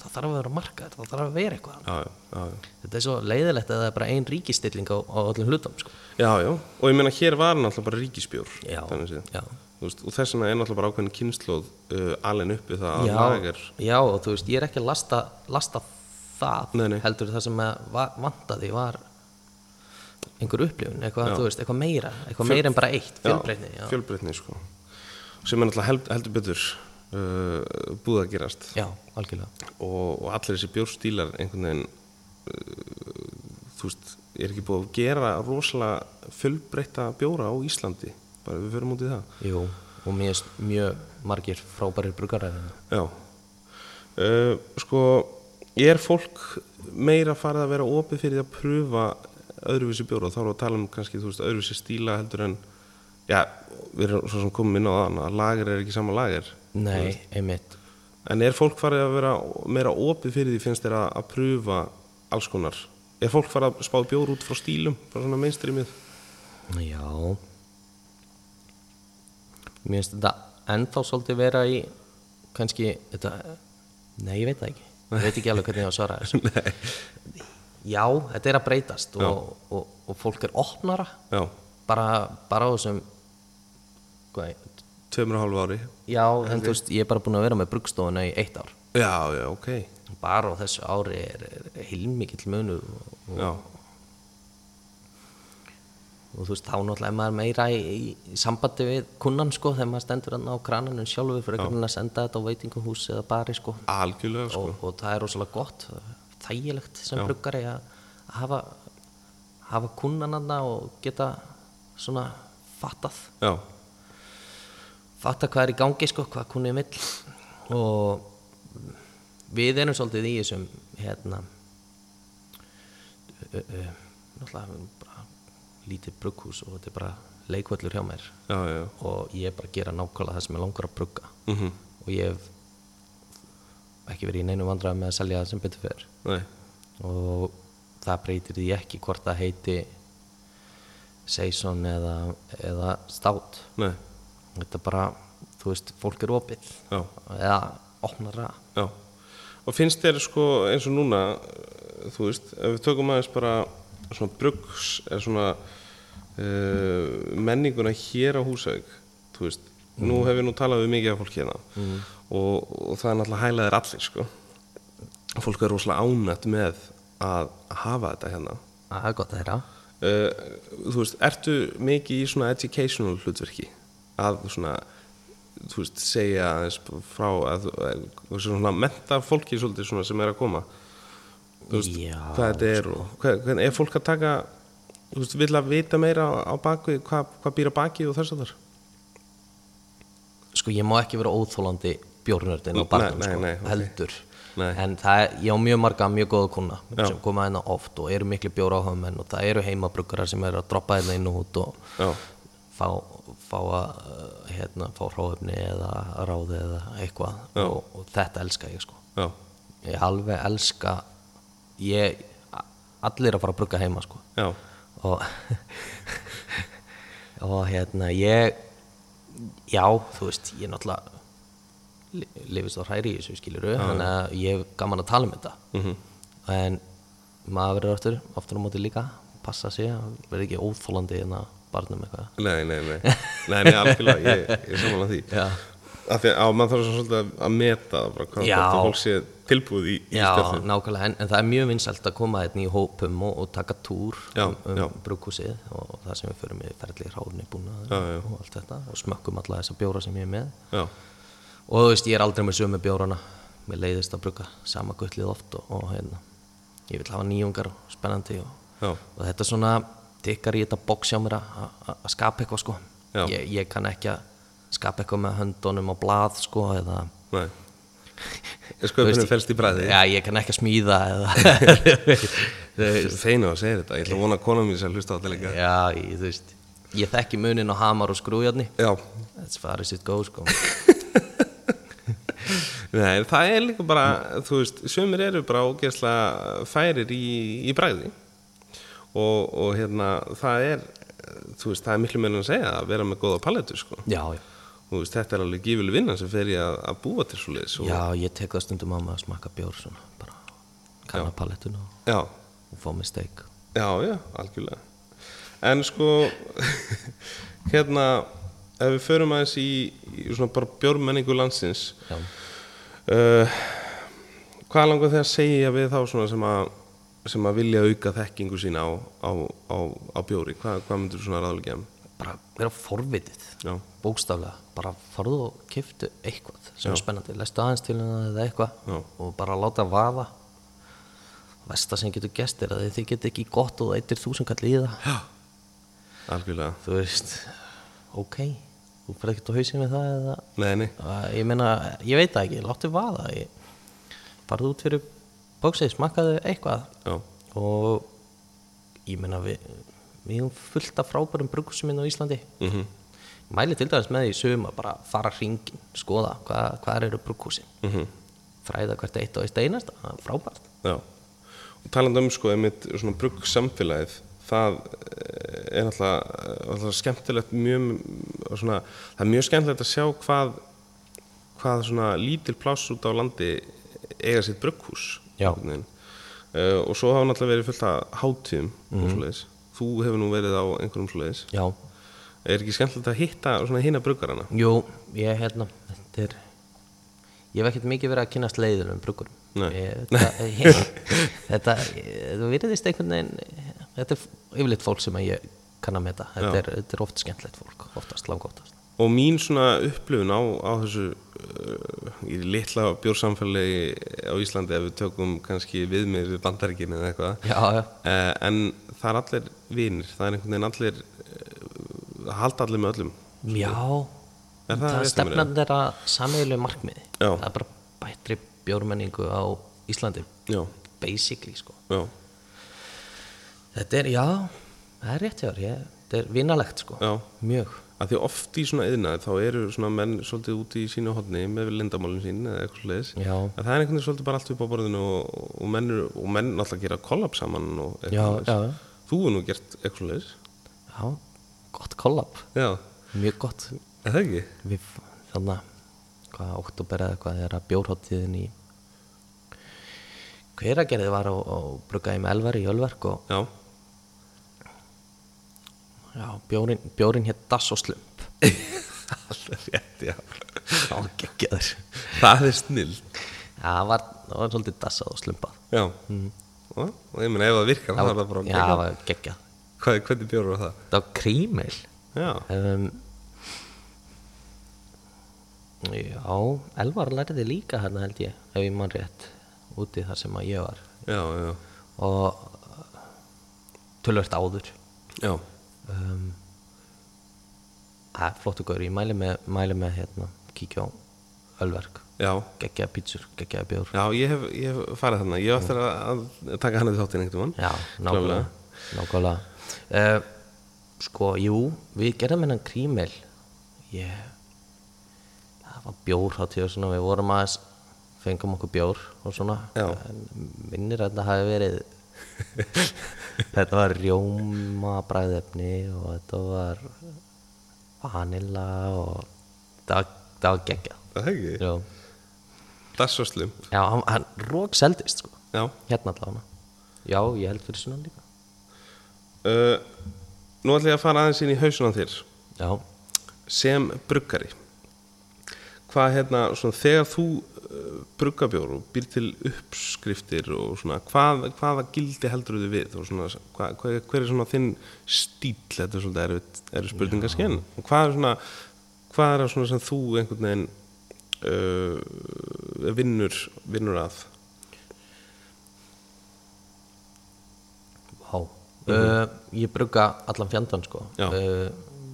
[SPEAKER 2] það þarf að vera markað það þarf að vera eitthvað
[SPEAKER 1] Já, já, já, já.
[SPEAKER 2] þetta er svo leiðilegt að það er bara ein ríkistilling á, á öllum hlutum sko.
[SPEAKER 1] já, já. og ég meina hér var náttúrulega bara ríkisbjór
[SPEAKER 2] Já,
[SPEAKER 1] þannig séð.
[SPEAKER 2] já.
[SPEAKER 1] Þú veist, og þess vegna er náttúrulega bara ákveðin kynnslóð uh, alveg uppi það að lagar
[SPEAKER 2] já, og þú veist, ég er ekki að lasta, lasta það
[SPEAKER 1] Nei, nei.
[SPEAKER 2] heldur það sem að va- vantaði var einhver upplifun, eitthvað, þú veist, eitthvað meira eitthvað meira en bara eitt, fjölbreytni já,
[SPEAKER 1] fjölbreytni sko. sem er náttúrulega held, heldur betur uh, búið að gerast
[SPEAKER 2] já, algjörlega
[SPEAKER 1] og, og allir þessi bjórstílar einhvern veginn uh, þú veist, er ekki búið að gera rosalega fjölbreytta bjóra á Íslandi bara við förum út í það
[SPEAKER 2] Jú, og mjög, mjög margir frábærir brugaræðinu
[SPEAKER 1] Já uh, Sko, er fólk meira farið að vera opið fyrir því að pröfa öðruvísi bjóra þá erum við að tala um kannski, þú veist, öðruvísi stíla heldur en já, við erum svo sem komum inn á það að lager er ekki sama lager
[SPEAKER 2] Nei, einmitt
[SPEAKER 1] en er fólk farið að vera meira opið fyrir því finnst þér að, að pröfa alls konar er fólk farið að spá bjór út frá stílum bara svona mainstreamið
[SPEAKER 2] Já Mér finnst þetta ennþá svolítið vera í kannski þetta, Nei, ég veit það ekki Ég veit ekki alveg hvernig ég á að svara þessu Já, þetta er að breytast og, og, og fólk er opnara
[SPEAKER 1] Já,
[SPEAKER 2] bara, bara á þessum hvað, er-
[SPEAKER 1] tveimur og hálfu ári
[SPEAKER 2] Já, en þú veist, ég er bara búin að vera með brugstofuna í eitt ár
[SPEAKER 1] Já, já, ok
[SPEAKER 2] bara á þessu ári er, er heilmikill munur og,
[SPEAKER 1] Já,
[SPEAKER 2] og þú veist, þá náttúrulega er maður meira í, í sambandi við kunnan sko þegar maður stendur hann á krananum sjálfur fyrir að senda þetta á veitinguhús eða bari sko,
[SPEAKER 1] algjörlega sko
[SPEAKER 2] Og, og það er rosalega gott þægilegt sem bruggari að að hafa, hafa kunnan hann og geta svona fattað
[SPEAKER 1] Já,
[SPEAKER 2] fatta hvað er í gangi sko, hvað kunnið vill og við erum svolítið í þessum hérna ö, ö, náttúrulega bara lítið brugghús og þetta er bara leikvöllur hjá mér
[SPEAKER 1] já, já Mhm.
[SPEAKER 2] og ég er bara að gera nákvæmlega það sem ég langar að brugga -hmm. og ég hef ekki verið í neinu vandræðum með að selja það sem betur fyrir
[SPEAKER 1] Nei,
[SPEAKER 2] og það breytir því ekki hvort það heiti Saison eða, eða Stout
[SPEAKER 1] nei,
[SPEAKER 2] þetta er bara, þú veist, fólk er opið
[SPEAKER 1] já
[SPEAKER 2] eða opnara
[SPEAKER 1] Já, og finnst þér sko eins og núna, eh, þú veist, ef við tökum aðeins bara svona brugs eða svona uh, menninguna hér á Húsavík, þú veist, nú hef ég nú talað við mikið af fólk hérna og, og það er náttúrulega hælaðir allir sko, fólk er rosalega ánætt með að hafa þetta hérna.
[SPEAKER 2] að það er gott að þeirra
[SPEAKER 1] Uh, þú veist, ertu mikið í svona educational hlutverki að svona, þú veist, segja aðeins frá að, að, að svona menta fólki svolítið svona sem er að koma þú veist,
[SPEAKER 2] Já, sko.
[SPEAKER 1] hvað þetta er og hvað, hvernig er fólk að taka þú veist, vil að vita meira á, á bakvið, hvað, hvað býr að baki og þess að þar
[SPEAKER 2] sko ég má ekki vera óþólandi bjórnördin á barnum
[SPEAKER 1] Nei, nei,
[SPEAKER 2] sko,
[SPEAKER 1] nei, ok.
[SPEAKER 2] heldur
[SPEAKER 1] Nei.
[SPEAKER 2] en það er, ég á mjög marga mjög góða kuna sem koma hérna oft og eru miklu bjór áhugamenn og það eru heimabruggarar sem eru að droppa hérna inn og út og
[SPEAKER 1] Já,
[SPEAKER 2] fá, fá að uh, hérna, fá hrófni eða ráði eða eitthvað og, og þetta elska ég sko
[SPEAKER 1] já,
[SPEAKER 2] ég alveg elska ég, a- allir að fara að brugga heima sko
[SPEAKER 1] já,
[SPEAKER 2] og og hérna ég já, þú veist, ég náttúrulega li- lifist á hræri í þessu skiluru þannig að ég hef gaman að tala um þetta
[SPEAKER 1] Mhm.
[SPEAKER 2] -hmm. en maður verður aftur, aftur á móti líka passa sig, að verður ekki óþólandi en að barnum eitthvað
[SPEAKER 1] nei, nei, nei nei, nei, algjörlega, ég, ég er samanlega því
[SPEAKER 2] Já.
[SPEAKER 1] af því að maður þarf svona svolítið að- að meta það bara, hvað
[SPEAKER 2] Já.
[SPEAKER 1] hvort að fólk sé tilbúið í, í
[SPEAKER 2] Já,
[SPEAKER 1] spjallið.
[SPEAKER 2] nákvæmlega, en, en það er mjög vinsælt að koma hérna í hópum og, og taka túr
[SPEAKER 1] Já,
[SPEAKER 2] um, um
[SPEAKER 1] já.
[SPEAKER 2] brúkhúsið og það sem við förum í ferli hráðni búna
[SPEAKER 1] Já, já.
[SPEAKER 2] og allt þetta og smökkum alla þessa bjóra sem ég er með
[SPEAKER 1] Já,
[SPEAKER 2] og þú veist, ég er aldrei með sömu bjórana mér leiðist að brugga sama gullið oft og, og hérna, ég vil hafa nýjungar og spennandi og,
[SPEAKER 1] já,
[SPEAKER 2] og þetta er svona tikkar í þetta boks hjá mér að- að að skapa eitthvað sko
[SPEAKER 1] Já.
[SPEAKER 2] ég, ég kann ekki að skapa eitthvað með höndunum á blað sko eða
[SPEAKER 1] Nei. Er
[SPEAKER 2] þú veist,
[SPEAKER 1] sköpunum felst í bræði?
[SPEAKER 2] Já, ég kann ekki að smíða eða
[SPEAKER 1] Ég er feinu að segja þetta, ég ætla að vona að konan mín sem hlusta á þetta líka.
[SPEAKER 2] Já, ég, þú veist Ég þekki munin á hamar og skrújarni
[SPEAKER 1] Já,
[SPEAKER 2] That's far as it goes sko
[SPEAKER 1] Nei, það er líka bara, þú veist, sömur eru bara ógeðslega færir í, í bræði og, og hérna, það er, þú veist, það er miklu meira en að segja að vera með góða palettu, sko.
[SPEAKER 2] Já, já
[SPEAKER 1] Þú veist, þetta er alveg gífileg vinna sem fer ég að, að búa til svo liðs.
[SPEAKER 2] Já, ég tek það stundum á mig að smakka bjór svona, bara kanna palettuna og,
[SPEAKER 1] Já,
[SPEAKER 2] og fá mér steik
[SPEAKER 1] já, já, algjörlega. En sko, hérna, ef við förum aðeins í, í svona bara bjórmenningu landsins,
[SPEAKER 2] Já,
[SPEAKER 1] uh, hvað langar þið að segja við þá svona sem að sem að vilja auka þekkingu sína á, á, á, á bjóri, Hva, hvað myndur svona ráðleika um?
[SPEAKER 2] bara vera forvitið
[SPEAKER 1] Já,
[SPEAKER 2] bókstaflega, bara farðu og kiftu eitthvað sem er spennandi, lestu aðeins til hennar eða eitthvað
[SPEAKER 1] Já.
[SPEAKER 2] og bara láta vaða Vesta sem getur gest er að þið get ekki gott og það eittir þúsundkall í það
[SPEAKER 1] algjörlega
[SPEAKER 2] Þú veist, ok þú fyrir ekkert á hausinn við það eða
[SPEAKER 1] Nei, nei,
[SPEAKER 2] Æ, ég meina, ég veit það ekki, láttu vaða ég, farðu út fyrir bóksið, smakkaðu eitthvað
[SPEAKER 1] já,
[SPEAKER 2] og ég meina við við höfum fullt af frábærum brugghúsum inn á Íslandi
[SPEAKER 1] Mhm,
[SPEAKER 2] -hmm. mæli til dæmis með því sögum að bara fara hringin skoða hvað, hvað eru brugghúsin
[SPEAKER 1] mhm.
[SPEAKER 2] -hmm. fræða hvert eitt og eitt einasta það er frábært
[SPEAKER 1] já og talandi um sko, einmitt svona brugg samfélagið það eh, er alltaf, alltaf skemmtilegt mjög, og svona, það er mjög skemmtilegt að sjá hvað hvað svona lítil pláss út á landi eiga sitt brugghús
[SPEAKER 2] Já.
[SPEAKER 1] einhvern veginn. Eh, og svo hafa náttúrulega verið fullt af hátíðum og svoleiðis, þú hefur nú verið á einhverjum svoleiðis,
[SPEAKER 2] já,
[SPEAKER 1] er ekki skemmtilegt að hitta svona hina bruggarana?
[SPEAKER 2] jú, ég hérna þetta er ég hef ekkert mikið verið að kynast leiðir um bruggur
[SPEAKER 1] Nei.
[SPEAKER 2] þetta, ég, þetta þú virðist einhvern veginn þetta er yfirleitt fólk sem að ég kann að meta þetta
[SPEAKER 1] Já.
[SPEAKER 2] er, þetta er oft skemmtlegt fólk oftast, langoftast
[SPEAKER 1] Og mín svona upplifun á, á þessu uh, í litla bjórsamfélagi á Íslandi ef við tökum kannski viðmið við bandaríkinu eða eitthvað
[SPEAKER 2] já, já
[SPEAKER 1] uh, en það er allir vinir, það er einhvern veginn allir uh, halda allir með öllum
[SPEAKER 2] Já,
[SPEAKER 1] Er það rétt
[SPEAKER 2] það er
[SPEAKER 1] hjá
[SPEAKER 2] stefnan þeirra sameigileg markmiði.
[SPEAKER 1] Já.
[SPEAKER 2] Það er bara bættri bjórmenningu á Íslandi,
[SPEAKER 1] Já,
[SPEAKER 2] basically sko.
[SPEAKER 1] já,
[SPEAKER 2] Þetta er, já, það er rétt hjá, þér, ég, þetta er vinalegt sko.
[SPEAKER 1] já
[SPEAKER 2] Mjög.
[SPEAKER 1] að því oft í svona yðnaði þá eru svona menn svolítið úti í sínu hodni með lindamálin sín eða eitthvað sliðis
[SPEAKER 2] Já,
[SPEAKER 1] að það er einhvern veginn svolítið bara allt upp á borðinu og, og, menn, eru- og menn alltaf gera kollab saman og eitthvað
[SPEAKER 2] já,
[SPEAKER 1] svoleiðis.
[SPEAKER 2] já,
[SPEAKER 1] Þú hefur nú gert eitthvað leis
[SPEAKER 2] já, gott kollab,
[SPEAKER 1] Já,
[SPEAKER 2] mjög gott.
[SPEAKER 1] er það ekki?
[SPEAKER 2] Við, þannig hvað, oktober eða hvað er að bjórháttíðin í hveragerði var á, á bruggaði með elvar í Ölverk og
[SPEAKER 1] Já
[SPEAKER 2] já, bjórin, bjórin hétt Dass og Slump.
[SPEAKER 1] Alltaf rétt, já
[SPEAKER 2] Já, geggjaður.
[SPEAKER 1] Það er snill
[SPEAKER 2] Já, það var, það var svolítið dassað og slumpað.
[SPEAKER 1] Já og, og ég meina ef það virkar þá er það bara
[SPEAKER 2] Já, það var geggjað.
[SPEAKER 1] Hvað, Hvernig bjóður var það?
[SPEAKER 2] Það var krímil.
[SPEAKER 1] Já,
[SPEAKER 2] Um, já, Elvar lærði líka hérna held ég, ef ég mann rétt, úti þar sem að ég var.
[SPEAKER 1] já, já
[SPEAKER 2] Og tölvört áður.
[SPEAKER 1] Já,
[SPEAKER 2] Um, Það er flottu gaur, ég mæli með, mæli með hérna, kíkja á Ölverk.
[SPEAKER 1] já
[SPEAKER 2] Geggjaða pítsur, geggjaða bjór.
[SPEAKER 1] Já, ég hef, ég hef farið þarna Ég á eftir að, að taka hann eða þáttinn einhvern
[SPEAKER 2] Já,
[SPEAKER 1] Klárlega.
[SPEAKER 2] nákvæmlega, nákvæmlega. Uh, sko, jú, við gerðum hennan krímil. Ég, það var bjór hátíð og svona, við vorum aðeins, fengum okkur bjór og svona.
[SPEAKER 1] Já.
[SPEAKER 2] En minnir að þetta hafi verið, þetta var rjóma bræðefni og þetta var vanilla og það var, það var geggjað.
[SPEAKER 1] Það er ekki?
[SPEAKER 2] Já,
[SPEAKER 1] Dass og slum
[SPEAKER 2] Já, hann, hann rók seldist, sko,
[SPEAKER 1] Já
[SPEAKER 2] hérna allavega. Já, ég held fyrir svona líka.
[SPEAKER 1] uh, Nú ætla ég að fara aðeins inn í hausunan þér
[SPEAKER 2] Já,
[SPEAKER 1] sem bruggari hvað hérna, svona, þegar þú uh, bruggabjór og býr til uppskriftir og svona, hvað, hvaða gildi heldur þau við og svona, hvað, hver, hver er svona þinn stíl, þetta er svona erfið, erfið spurningaskinn og hvað er svona hvað er það svona sem þú einhvern veginn uh, vinnur, vinnur að
[SPEAKER 2] Vá, uh, ég brugga allan fjandann sko
[SPEAKER 1] Já.
[SPEAKER 2] uh,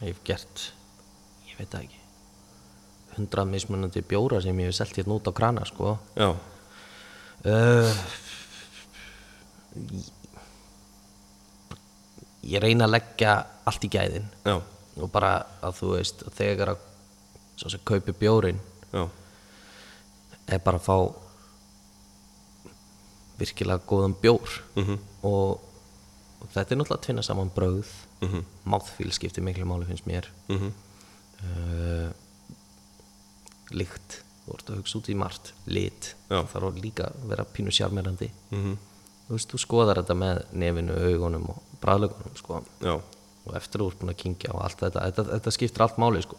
[SPEAKER 2] ég hef gert ég veit það ekki hundrað mismunandi bjóra sem ég hef selt hérna út á krana sko
[SPEAKER 1] Já,
[SPEAKER 2] uh, ég- ég reyna að leggja allt í gæðin
[SPEAKER 1] já,
[SPEAKER 2] og bara að þú veist að þegar að svo sem kaupi bjórin
[SPEAKER 1] já,
[SPEAKER 2] er bara að fá virkilega góðan bjór og, og þetta er náttúrulega að tvinna saman bröð mm -hmm. máðfíl skiptir miklu máli finnst mér mm
[SPEAKER 1] Mhm,
[SPEAKER 2] -hmm. uh, líkt þú ert að hugsa út í margt, lit
[SPEAKER 1] Já.
[SPEAKER 2] þarf að líka að vera pínu sjarmerandi
[SPEAKER 1] mhm.
[SPEAKER 2] þú veist, þú skoðar þetta með nefinu, augunum og bræðlögunum sko
[SPEAKER 1] já,
[SPEAKER 2] og eftir þú ert búin að kynkja og allt þetta, þetta, þetta skiptir allt máli sko.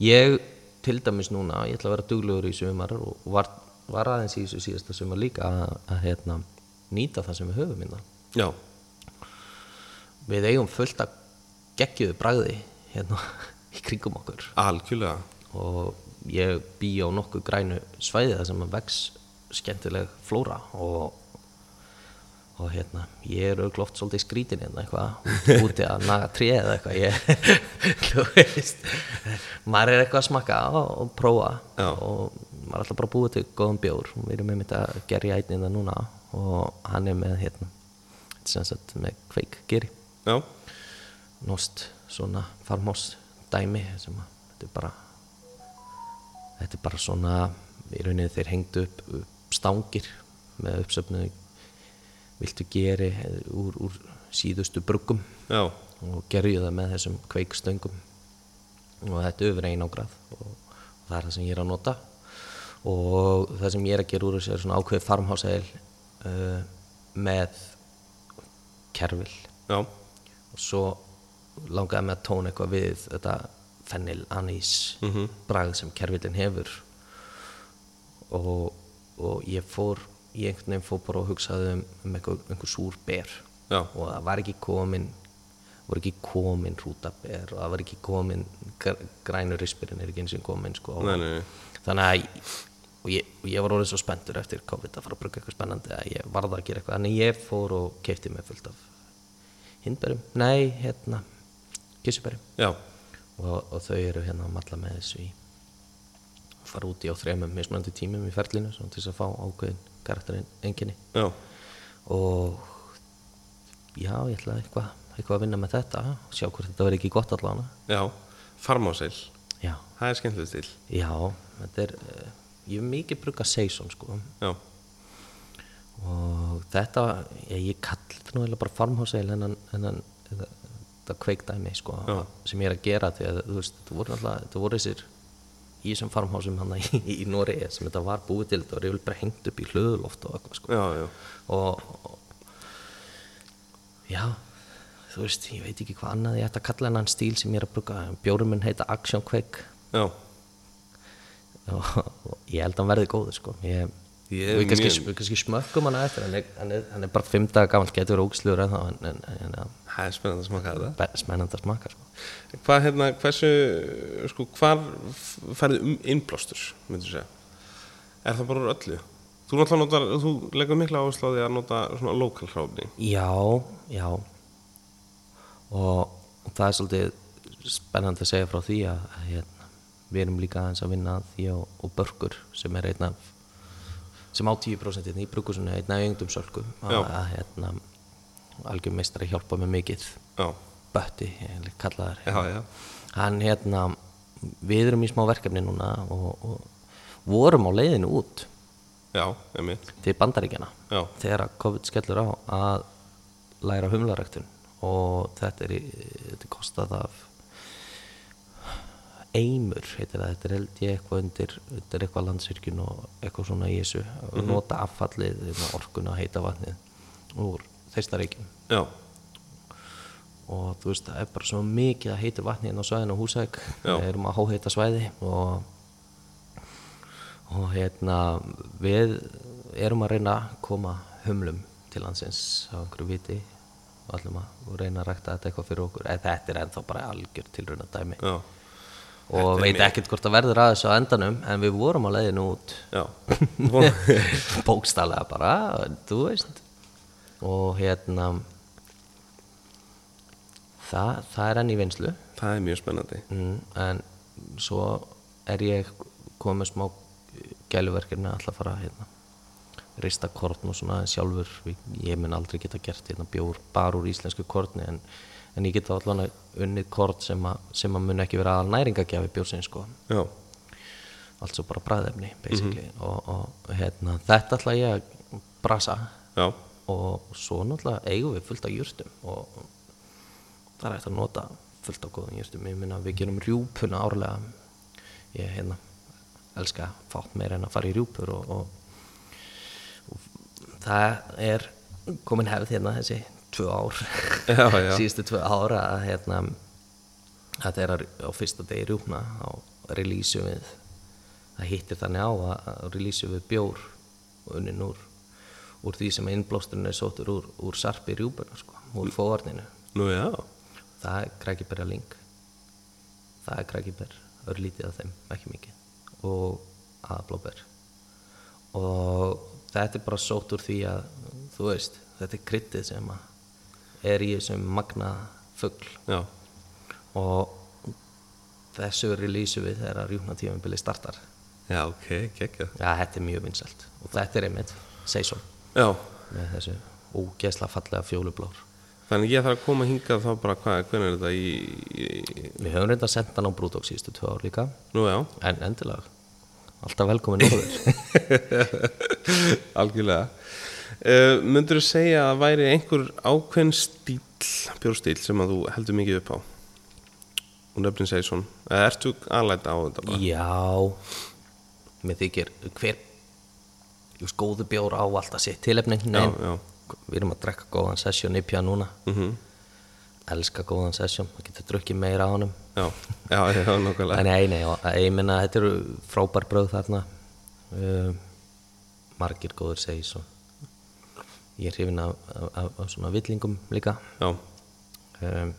[SPEAKER 2] ég til dæmis núna, ég ætla að vera duglegur í sumar og var, var aðeins í þessu síðasta sumar líka að, að hérna, nýta það sem við höfum hérna.
[SPEAKER 1] já,
[SPEAKER 2] við eigum fullt að geggjuðu bragði hérna í kringum okkur
[SPEAKER 1] algjörlega,
[SPEAKER 2] og ég bý á nokkuð grænu svæði þar sem að vex skemmtileg flóra og og hérna, ég er auðvitað oft svolítið skrítin hérna eitthvað, út- úti að naga tréð eða eitthvað, ég, þú veist, maður er eitthvað að smakka og, og prófa
[SPEAKER 1] Já.
[SPEAKER 2] og maður er alltaf bara að búa til góðan bjór, við erum einmitt að gera í ætnina núna og hann er með hérna, sem sagt með kveik geri
[SPEAKER 1] já,
[SPEAKER 2] nost svona farmhouse dæmi sem að þetta er bara þetta er bara svona í rauninni þeir hengdu upp, upp stangir með uppsöfnu viltu geri úr, úr síðustu bruggum
[SPEAKER 1] já,
[SPEAKER 2] og gerðu það með þessum kveikstöngum og þetta er yfir einangrað og, og það er það sem ég er að nota og það sem ég er að gera úr þessu er svona ákveðið farmhásaðil uh, með kerfil
[SPEAKER 1] já,
[SPEAKER 2] og svo langaði mig að tóna eitthvað við þetta fennil anís
[SPEAKER 1] Mhm.
[SPEAKER 2] bragð sem kerfillin hefur og, og ég fór ég einhvern veginn fór bara og hugsaði um, um einhver, einhver súr ber
[SPEAKER 1] Já.
[SPEAKER 2] og það var ekki komin voru ekki komin rútaber og það var ekki komin gr- grænur rispirinn er ekki eins og komin sko
[SPEAKER 1] Nei, nei, nei.
[SPEAKER 2] þannig að og ég, og ég var orðið svo spenntur eftir COVID að fara að bruka eitthvað spennandi að ég varða að gera eitthvað þannig að ég fór og keipti mig fullt af hindberum, nei, hérna kissuberum
[SPEAKER 1] já,
[SPEAKER 2] og, og þau eru hérna að matla með þessu í og fara út í á þremum mismunandi tímum í ferlinu svona til þess að fá ákveðin karakterinn enginni
[SPEAKER 1] já,
[SPEAKER 2] og já, ég ætla eitthvað eitthvað að vinna með þetta og sjá hvort þetta verður ekki gott allavega
[SPEAKER 1] já, farmáseil,
[SPEAKER 2] já,
[SPEAKER 1] það er skemmtilegt stil,
[SPEAKER 2] já, þetta er eh, ég hef mikið bruka seison sko
[SPEAKER 1] já,
[SPEAKER 2] og þetta, ég, ég kalli þetta nú eiginlega bara farmháseil hennan, hennan þetta, þetta kveikdæmi sko,
[SPEAKER 1] Já.
[SPEAKER 2] sem ég er að gera því að þú veist, þetta voru alltaf, þetta voru þessir í þessum farmhásum hann í, í Nóri sem þetta var búið til þetta var yfirlega bara hengt upp í hlöðuloft og eitthvað sko
[SPEAKER 1] já, já,
[SPEAKER 2] og, og já þú veist, ég veit ekki hvað annað ég ætti að kalla hennan stíl sem ég er að bruka bjórum minn heita Action Quake
[SPEAKER 1] já,
[SPEAKER 2] og, og ég held að hann verði góður sko ég,
[SPEAKER 1] Ég
[SPEAKER 2] ég
[SPEAKER 1] er
[SPEAKER 2] við kannski,
[SPEAKER 1] mjög-
[SPEAKER 2] við kannski smökkum hann eftir hann er, hann, er, hann er bara fimm daga gammal getur verið ógislegur en, en, en, en ja,
[SPEAKER 1] það er spennandi að smaka þetta.
[SPEAKER 2] be- spennandi að smaka sko.
[SPEAKER 1] Hvað, hérna, hversu, sko, hvar færðu um innblástur, myndir segja? Er það bara úr öllu? Þú náttúrulega notar, þú leggur mikla áherslu á því að nota svona lokal hráfni.
[SPEAKER 2] já, já og það er svolítið spennandi að segja frá því að, að hérna, við erum líka aðeins að vinna að því og, og börkur sem er einn af sem á 10% hérna í brukusunni einn af yngdum sölku að,
[SPEAKER 1] Já.
[SPEAKER 2] að hérna, algjör meistari hjálpa mig mikið
[SPEAKER 1] Já,
[SPEAKER 2] Bötti, ég kalla þær
[SPEAKER 1] já, já,
[SPEAKER 2] hann hérna við erum í smá verkefni núna og, og vorum á leiðinu út
[SPEAKER 1] já, emitt,
[SPEAKER 2] til bandaríkjana
[SPEAKER 1] já,
[SPEAKER 2] þegar að COVID skellur á að læra humlaræktun og þetta er, í- þetta er kostað af eimur heitir það, þetta er held ég eitthvað undir, undir eitthvað landsvirkjun og eitthvað svona í þessu og nota affallið, hérna, orkuna, heita vatnið úr þeistaríkjum
[SPEAKER 1] já,
[SPEAKER 2] og þú veist það er bara svo mikið að heitu vatni inn á svæðinu á Húsæk
[SPEAKER 1] Já.
[SPEAKER 2] við erum að háheita svæði og og hérna við erum að reyna að koma humlum til landsins á einhverju viti og allum að og reyna að rækta þetta eitthvað fyrir okkur eða þetta er ennþá bara algjör tilrauna dæmi
[SPEAKER 1] já,
[SPEAKER 2] og veit ekkert hvort það verður að þessu á endanum en við vorum á leiðinu út
[SPEAKER 1] já, Von-
[SPEAKER 2] bókstallega bara, þú veist og hérna það, það er enn í vinslu
[SPEAKER 1] Það er mjög spennandi.
[SPEAKER 2] mm, en svo er ég komið með smá gæluverkefni að ætla að fara hérna rista kortn og svona aðeins sjálfur Við- ég mun aldrei geta gert hérna bjór bara úr íslensku kortni en, en ég geta allan unnið kort sem að, sem að mun ekki vera aðal næringagjafi bjórsin sko
[SPEAKER 1] Já,
[SPEAKER 2] allt svo bara bræðefni basically og, og hérna þetta ætla ég að brasa
[SPEAKER 1] já,
[SPEAKER 2] og svo náttúrulega eigum við fullt af jurtum og það er eftir að nota fullt af góðum jurtum ég minna við gerum rjúpuna árlega ég hérna elska fátt meira en að fara í rjúpur og, og, og það er komin hefð hérna þessi tvö ár
[SPEAKER 1] Já, já.
[SPEAKER 2] síðustu tvö ára að hérna þetta er að á fyrsta degi rjúpna á releaseu við það hittir þannig á að, að releaseu við bjór og unnin úr úr því sem innblásturinn er sóttur úr, úr sarpi rjúpuna sko, úr fóvarninu
[SPEAKER 1] nú já,
[SPEAKER 2] það er krækibæra ling það er krækibær örlítið af þeim, ekki mikið og aðblóbær og þetta er bara sótt úr því að þú veist, þetta er kryttið sem að er í þessum magna fugl
[SPEAKER 1] já,
[SPEAKER 2] og þessu release við þegar að rjúkna tímabili startar
[SPEAKER 1] já, ok, gekkja.
[SPEAKER 2] já, þetta er mjög vinsælt og þetta er einmitt seison
[SPEAKER 1] Já,
[SPEAKER 2] með þessu ógeðsla fallega fjólublár
[SPEAKER 1] þannig ég þarf að koma hingað þá bara hvað, hvernig er þetta í, í
[SPEAKER 2] við höfum reynda sendt hann á Brúdók síðustu tvö ár líka
[SPEAKER 1] nú já,
[SPEAKER 2] en endilega alltaf velkomin norður
[SPEAKER 1] algjörlega. Uh, Mundur þú segja að væri einhver ákveðn stíl, bjórstíl sem að þú heldur mikið upp á? Og nöfnin segir svona, eða ertu aðlæta á þetta bara?
[SPEAKER 2] já mér þykir hver þú veist, góðu bjór á alltaf sitt tilefni
[SPEAKER 1] Já,
[SPEAKER 2] Nei,
[SPEAKER 1] já,
[SPEAKER 2] við erum að drekka góðan sesjón í pjá núna
[SPEAKER 1] mhm,
[SPEAKER 2] elska góðan sesjón, það getur drukkið meira á honum
[SPEAKER 1] já, já, já, nákvæmlega.
[SPEAKER 2] En nei, nei, og- ég minna þetta eru frábær bröð þarna um, margir góður segi svo ég er hrifin af, af, af, af svona villingum líka
[SPEAKER 1] Já,
[SPEAKER 2] um,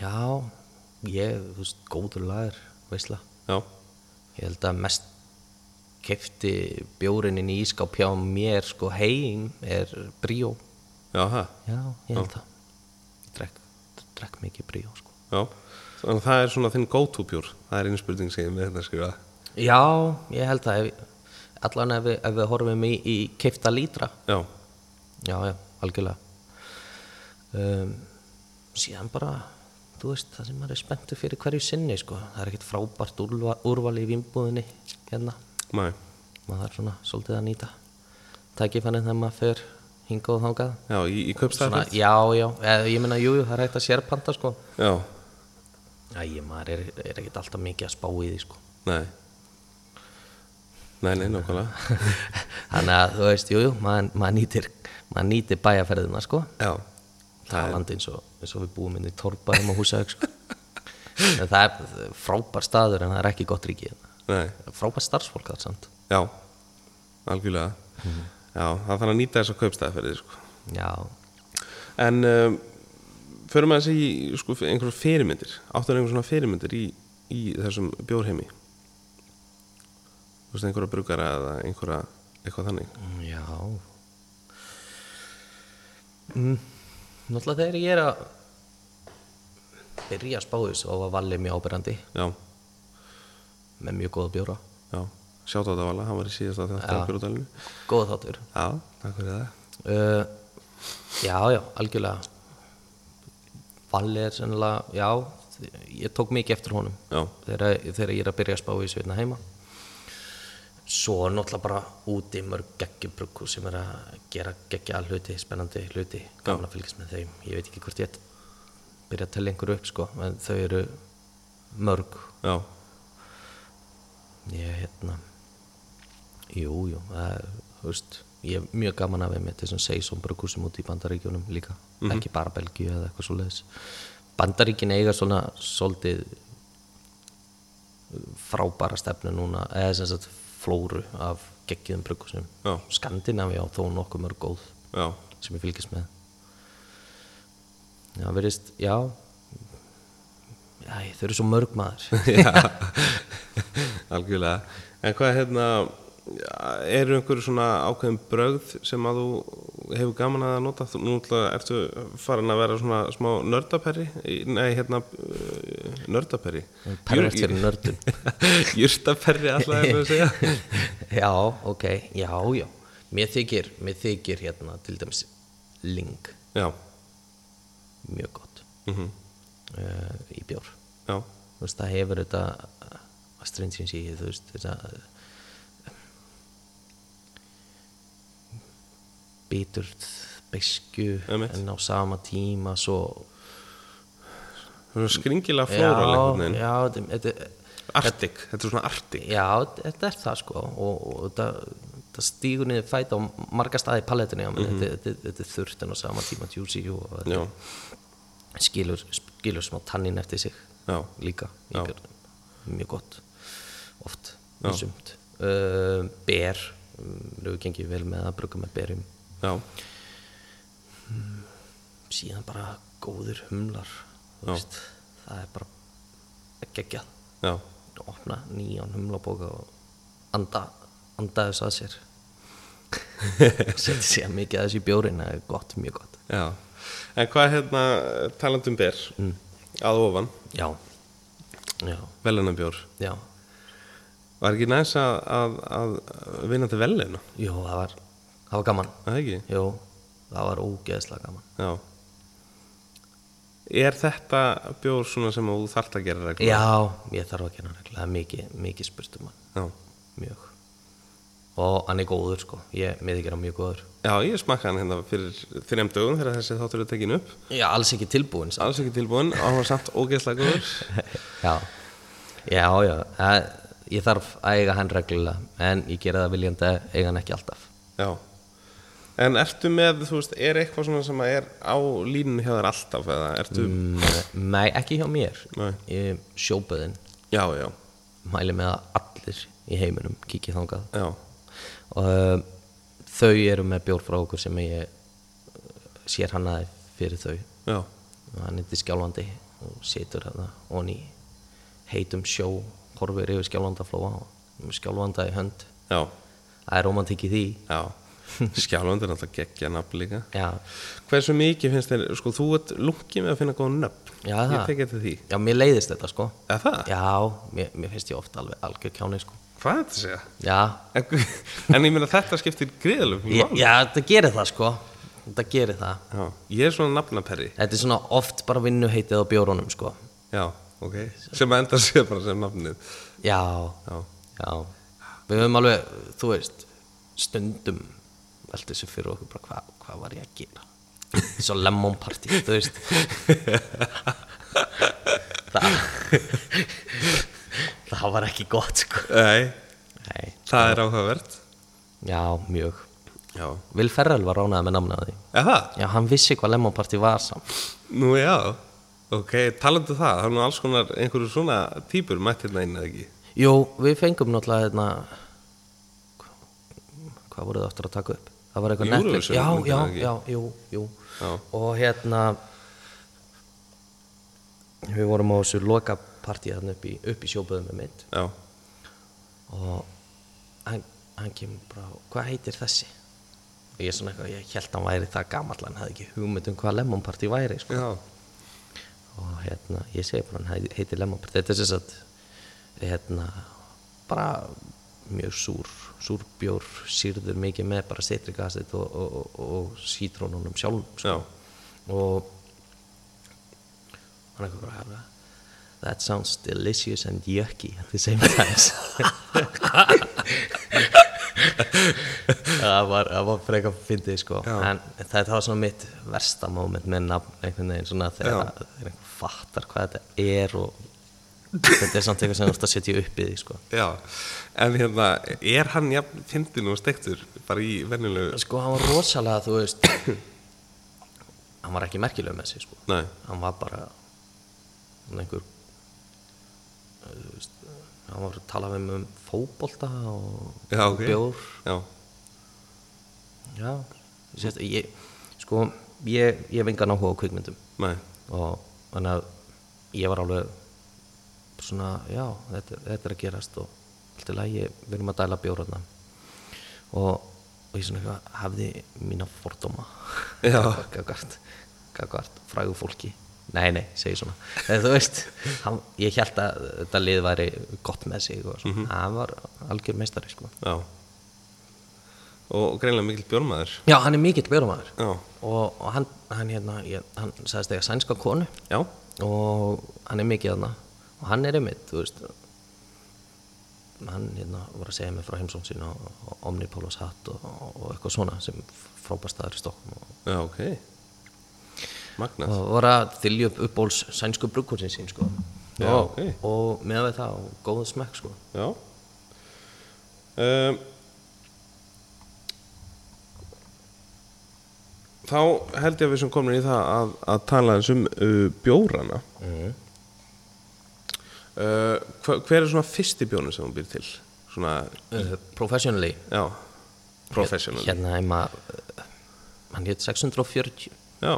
[SPEAKER 2] já ég, þú veist, góður lagur veistla,
[SPEAKER 1] já,
[SPEAKER 2] ég held að mest kefti bjórinin í ískáp hjá mér sko heim er bríó
[SPEAKER 1] já, það.
[SPEAKER 2] já, ég held það ég drekk, drekk mikið bríó sko
[SPEAKER 1] Já, þannig að það er svona þinn go-to bjór Það er einu spurning sem ég er með þetta skrifa
[SPEAKER 2] Já, ég held það ef, allan ef, við- ef við horfum í, í keifta lítra
[SPEAKER 1] Já,
[SPEAKER 2] já, já, algjörlega um, síðan bara þú veist, það sem maður er spenntur fyrir hverju sinni sko. það er ekkert frábært úrval, úrval í vimbúðinni hérna
[SPEAKER 1] mæ,
[SPEAKER 2] maður er svona svolítið að nýta tækifænin þegar maður fer hingað og þangað
[SPEAKER 1] já, í, í
[SPEAKER 2] svona,
[SPEAKER 1] kaupstæðan
[SPEAKER 2] já, já, eða, ég meina, jú, jú, það er hægt að sérpanta sko.
[SPEAKER 1] Já,
[SPEAKER 2] Æ, maður er, er ekkert alltaf mikið að spá í því sko.
[SPEAKER 1] nei Nei, nei, nákvæmlega
[SPEAKER 2] Þannig að þú veist, jújú, jú, maður mað nýtir, mað nýtir bæjarferðina, sko.
[SPEAKER 1] Já,
[SPEAKER 2] Það er landið eins og, eins og við búum inn í Torpa heima á Húsavík, sko. En það er frábær staður en það er ekki gott ríkið.
[SPEAKER 1] nei,
[SPEAKER 2] Frábær starfsfólk þar samt.
[SPEAKER 1] já Algjörlega Já, það þarf að nýta þess að kaupstæðaferði sko.
[SPEAKER 2] Já,
[SPEAKER 1] En um, Förum að þessi í sko, einhverjum fyrirmyndir Áttu einhverjum svona fyrirmyndir í, í þessum bjórheimi Þú veist, einhverja brugara eða einhverja eitthvað þannig
[SPEAKER 2] já. Mm. Náttúrulega þegar ég er að byrja að spá þessu og að valið mjög ábyrrandi
[SPEAKER 1] Já,
[SPEAKER 2] með mjög góða bjóra.
[SPEAKER 1] Já, sjátt á þetta vala, hann var í síðasta þetta á bjórúdælinu.
[SPEAKER 2] Góða þáttur.
[SPEAKER 1] Já, takk fyrir það.
[SPEAKER 2] Uh, já, já, algjörlega Valli er sennilega, já ég tók mikið eftir honum
[SPEAKER 1] Já,
[SPEAKER 2] þegar, þegar ég er að byrja að spá í svitna heima Svo er náttúrulega bara úti mörg geggjubruggu sem er að gera geggja hluti, spennandi hluti gaman að fylgjast með þeim, ég veit ekki hvort ég byrja að tella einhverju upp sko en þau eru mörg
[SPEAKER 1] já,
[SPEAKER 2] Ég, hérna, jú, jú, það er, þú veist, ég er mjög gaman af einmitt þessum seisum brugghúsum út í Bandaríkjunum líka, ekki bara Belgíu eða eitthvað svoleiðis. Bandaríkin eiga svona svolítið uh, frábæra stefnu núna, eða sem sagt flóru af geggiðum brugghúsum.
[SPEAKER 1] Já.
[SPEAKER 2] Skandinavi á þó nokkuð mörg góð
[SPEAKER 1] já,
[SPEAKER 2] sem ég fylgist með. Já, verðist, já, Æ, þau eru svo mörg maður.
[SPEAKER 1] algjörlega. En hvað hérna, eru einhverju svona ákveðin brögð sem að þú hefur gaman að nota þú nú náttúrulega ertu farin að vera svona smá nördaperri Í- nei hérna uh, nördaperri
[SPEAKER 2] Pervert fyrir nördum
[SPEAKER 1] jurtaperri alltaf er það að segja
[SPEAKER 2] Já, ok, já, já Mér þykir, mér þykir hérna til dæmis Ling
[SPEAKER 1] já,
[SPEAKER 2] mjög gott
[SPEAKER 1] mm
[SPEAKER 2] uh, í bjór
[SPEAKER 1] já,
[SPEAKER 2] þú veist, það hefur þetta eh, astringins í, þú veist, eh, þess að bitur beisku
[SPEAKER 1] Einmitt.
[SPEAKER 2] en á sama tíma svo
[SPEAKER 1] það er skringilega
[SPEAKER 2] já,
[SPEAKER 1] flóral einhvern veginn
[SPEAKER 2] já, þetta, þetta- eh,
[SPEAKER 1] Arctic, þetta er svona Arctic
[SPEAKER 2] já, þetta er það sko og, og þetta, þetta stígur niður fæta á marga staði í palettinu mm
[SPEAKER 1] Mhm.
[SPEAKER 2] -hmm. þetta, þetta, þetta er þurft en á sama tíma juicy og þetta
[SPEAKER 1] já,
[SPEAKER 2] skilur, skilur smá tannin eftir sig
[SPEAKER 1] Já.
[SPEAKER 2] líka í
[SPEAKER 1] Já.
[SPEAKER 2] björnum. mjög gott oft og sumt uh, ber um, hefur gengið vel með að bruka með berum
[SPEAKER 1] já,
[SPEAKER 2] síðan bara góðir humlar þú
[SPEAKER 1] Já.
[SPEAKER 2] veist, það er bara geggjað
[SPEAKER 1] já,
[SPEAKER 2] að opna nýjan humlabóka og anda, anda þess að sér setja sér mikið að þessu í bjórin það er gott, mjög gott
[SPEAKER 1] já en hvað hérna talandum ber
[SPEAKER 2] Mm.
[SPEAKER 1] að ofan,
[SPEAKER 2] já, já,
[SPEAKER 1] velunabjór
[SPEAKER 2] já
[SPEAKER 1] Var ekki næs að, að, að vinna til velina?
[SPEAKER 2] Jú, það var, það var gaman
[SPEAKER 1] Það ekki?
[SPEAKER 2] Jú, það var ógeðslega gaman
[SPEAKER 1] Já. Er þetta bjór svona sem þú þart að gera regla?
[SPEAKER 2] Já, ég þarf að gera regla Það er mikið, mikið spurt um hann
[SPEAKER 1] Já.
[SPEAKER 2] Mjög Og hann er góður sko, ég með ekki er hann mjög góður
[SPEAKER 1] Já, ég smakkaði hann hérna fyrir þrem dögum þegar þessi þáttur er tekin upp.
[SPEAKER 2] Já, alls ekki tilbúin sann.
[SPEAKER 1] Alls ekki tilbúin, á hann var samt ógeðslega góður.
[SPEAKER 2] Já, já, já það, Ég þarf að eiga hann reglulega En ég gera það viljandi að eiga hann ekki alltaf
[SPEAKER 1] Já. En ertu með, þú veist, er eitthvað svona sem að er á línun hjá þér alltaf eða ertu...
[SPEAKER 2] Mm, Nei, ekki hjá mér
[SPEAKER 1] Nei.
[SPEAKER 2] Ég- Sjóböðin,
[SPEAKER 1] Já, já,
[SPEAKER 2] mæli með að allir í heiminum kikið þangað
[SPEAKER 1] já,
[SPEAKER 2] og um, þau eru með bjór frá okkur sem ég uh, sér hannaði fyrir þau
[SPEAKER 1] já,
[SPEAKER 2] og hann heitir Skjálfandi og situr hann onni heitum sjó, horfir yfir Skjálfandaflóa og með Skjálfanda í hönd
[SPEAKER 1] já,
[SPEAKER 2] það er romantík í því
[SPEAKER 1] já. Skjálfandi er alltaf geggja nafn líka.
[SPEAKER 2] já,
[SPEAKER 1] Hversu mikið finnst þér, sko, þú ert lungið með að finna góða nöfn.
[SPEAKER 2] Já,
[SPEAKER 1] Ég
[SPEAKER 2] það.
[SPEAKER 1] tek eftir því.
[SPEAKER 2] já mér leiðist þetta sko
[SPEAKER 1] Eða það?
[SPEAKER 2] já, mér, mér finnst ég ofta alveg algjör kjáni sko
[SPEAKER 1] Hvað er þetta að segja?
[SPEAKER 2] já,
[SPEAKER 1] En, en ég meina þetta skiptir gríðalöf.
[SPEAKER 2] já, já þetta gerir það sko þetta gerir það
[SPEAKER 1] Já. Ég er svona nafnaperri.
[SPEAKER 2] þetta er svona oft bara vinnuheitið á bjórunum sko
[SPEAKER 1] Já, ok. Sem að enda sér bara sem nafnið.
[SPEAKER 2] já,
[SPEAKER 1] Já,
[SPEAKER 2] Já, við höfum alveg, þú veist, stundum veldi þessu fyrir okkur bara hvað hva var ég að gera? Svo lemon party, þú veist. það, það var ekki gott, sko.
[SPEAKER 1] Nei,
[SPEAKER 2] Nei,
[SPEAKER 1] það er áhugavert.
[SPEAKER 2] já, mjög.
[SPEAKER 1] Já.
[SPEAKER 2] Vil Ferrell var ránaði með namna á því.
[SPEAKER 1] Eða það?
[SPEAKER 2] Já, hann vissi hvað lemon party var samt.
[SPEAKER 1] Nú já. Ok, talandu það, það er nú alls konar einhverju svona típur mættirna inn eða ekki.
[SPEAKER 2] Jú, við fengum náttúrulega hérna, hva- hvað voruð það aftur að taka upp? Það var eitthvað
[SPEAKER 1] Eurovision
[SPEAKER 2] Netflix- Já,
[SPEAKER 1] myndin,
[SPEAKER 2] já,
[SPEAKER 1] ekki?
[SPEAKER 2] já, jú, jú
[SPEAKER 1] Já.
[SPEAKER 2] Og hérna Við vorum á þessu lokapartíð þarna upp í, upp í sjóböðum með mynd
[SPEAKER 1] Já,
[SPEAKER 2] og hann, hann kemur bara hvað heitir þessi? Og ég svona eitthvað, ég held hann væri það gamall hann hafði ekki hugmynd um hvað lemonpartí væri sko
[SPEAKER 1] já,
[SPEAKER 2] og hérna, ég segi bara hann hei- heitir Lemon Pepper, þetta er sem sagt hérna, bara mjög súr, súrbjór sýrður mikið með bara setrikastit og, og, og, og sítrónunum sjálfum
[SPEAKER 1] já,
[SPEAKER 2] og hann er eitthvað bara that sounds delicious and yucky at the same time það var, það var frekar fyndið sko
[SPEAKER 1] Já.
[SPEAKER 2] en þetta var svona mitt versta moment með nafn einhvern veginn svona þegar þegar einhver fattar hvað þetta er og þetta er samt eitthvað sem þú ert að setja upp í því sko
[SPEAKER 1] já. En hérna, er hann jafn fyndin og stektur bara í venjulegu?
[SPEAKER 2] sko hann var rosalega þú veist hann var ekki merkileg með sig sko
[SPEAKER 1] Nei,
[SPEAKER 2] hann var bara hann einhver eh, þú veist, hann var að tala við mig um fótbolta og
[SPEAKER 1] já, ok.
[SPEAKER 2] bjór
[SPEAKER 1] Já,
[SPEAKER 2] já, Sérst, ég, sko ég, ég hef engan áhuga á kvikmyndum
[SPEAKER 1] nei,
[SPEAKER 2] og þannig að ég var alveg svona, já, þetta, þetta er að gerast og allt í lagi, við erum að dæla bjór þarna og og ég svona eitthvað hafði mína fordóma
[SPEAKER 1] Já.
[SPEAKER 2] gagvart, gagvart frægu fólki nei, nei, segi svona en þú veist, hann, ég held að þetta lið væri gott með sig og svona, hann var algjör meistari sko.
[SPEAKER 1] Já Og greinlega mikill björnmaður
[SPEAKER 2] já, hann er mikill björnmaður
[SPEAKER 1] Já
[SPEAKER 2] og, og hann, hann hérna ég, hann sagðist eitthvað sænska konu
[SPEAKER 1] Já
[SPEAKER 2] og hann er mikið þarna og hann er einmitt, þú veist hann hérna var að segja mér frá heimsón sín og, og Omnipolos hatt og, og eitthvað svona sem frábær staður í Stokkm og,
[SPEAKER 1] Já, ok Magnað
[SPEAKER 2] og var að þylja upp uppbóls sænsku brugkursin sín sko
[SPEAKER 1] Já,
[SPEAKER 2] og,
[SPEAKER 1] ok.
[SPEAKER 2] og meðan við það og góða smekk sko
[SPEAKER 1] Já um, Þá held ég að við sem komin í það að, að tala eins um uh, bjórana
[SPEAKER 2] mm.
[SPEAKER 1] uh, hver, hver er svona fyrsti bjórn sem hún býr til? Svona,
[SPEAKER 2] uh, professionally
[SPEAKER 1] já Professional
[SPEAKER 2] hérna heima uh, hann hétt 640
[SPEAKER 1] Já,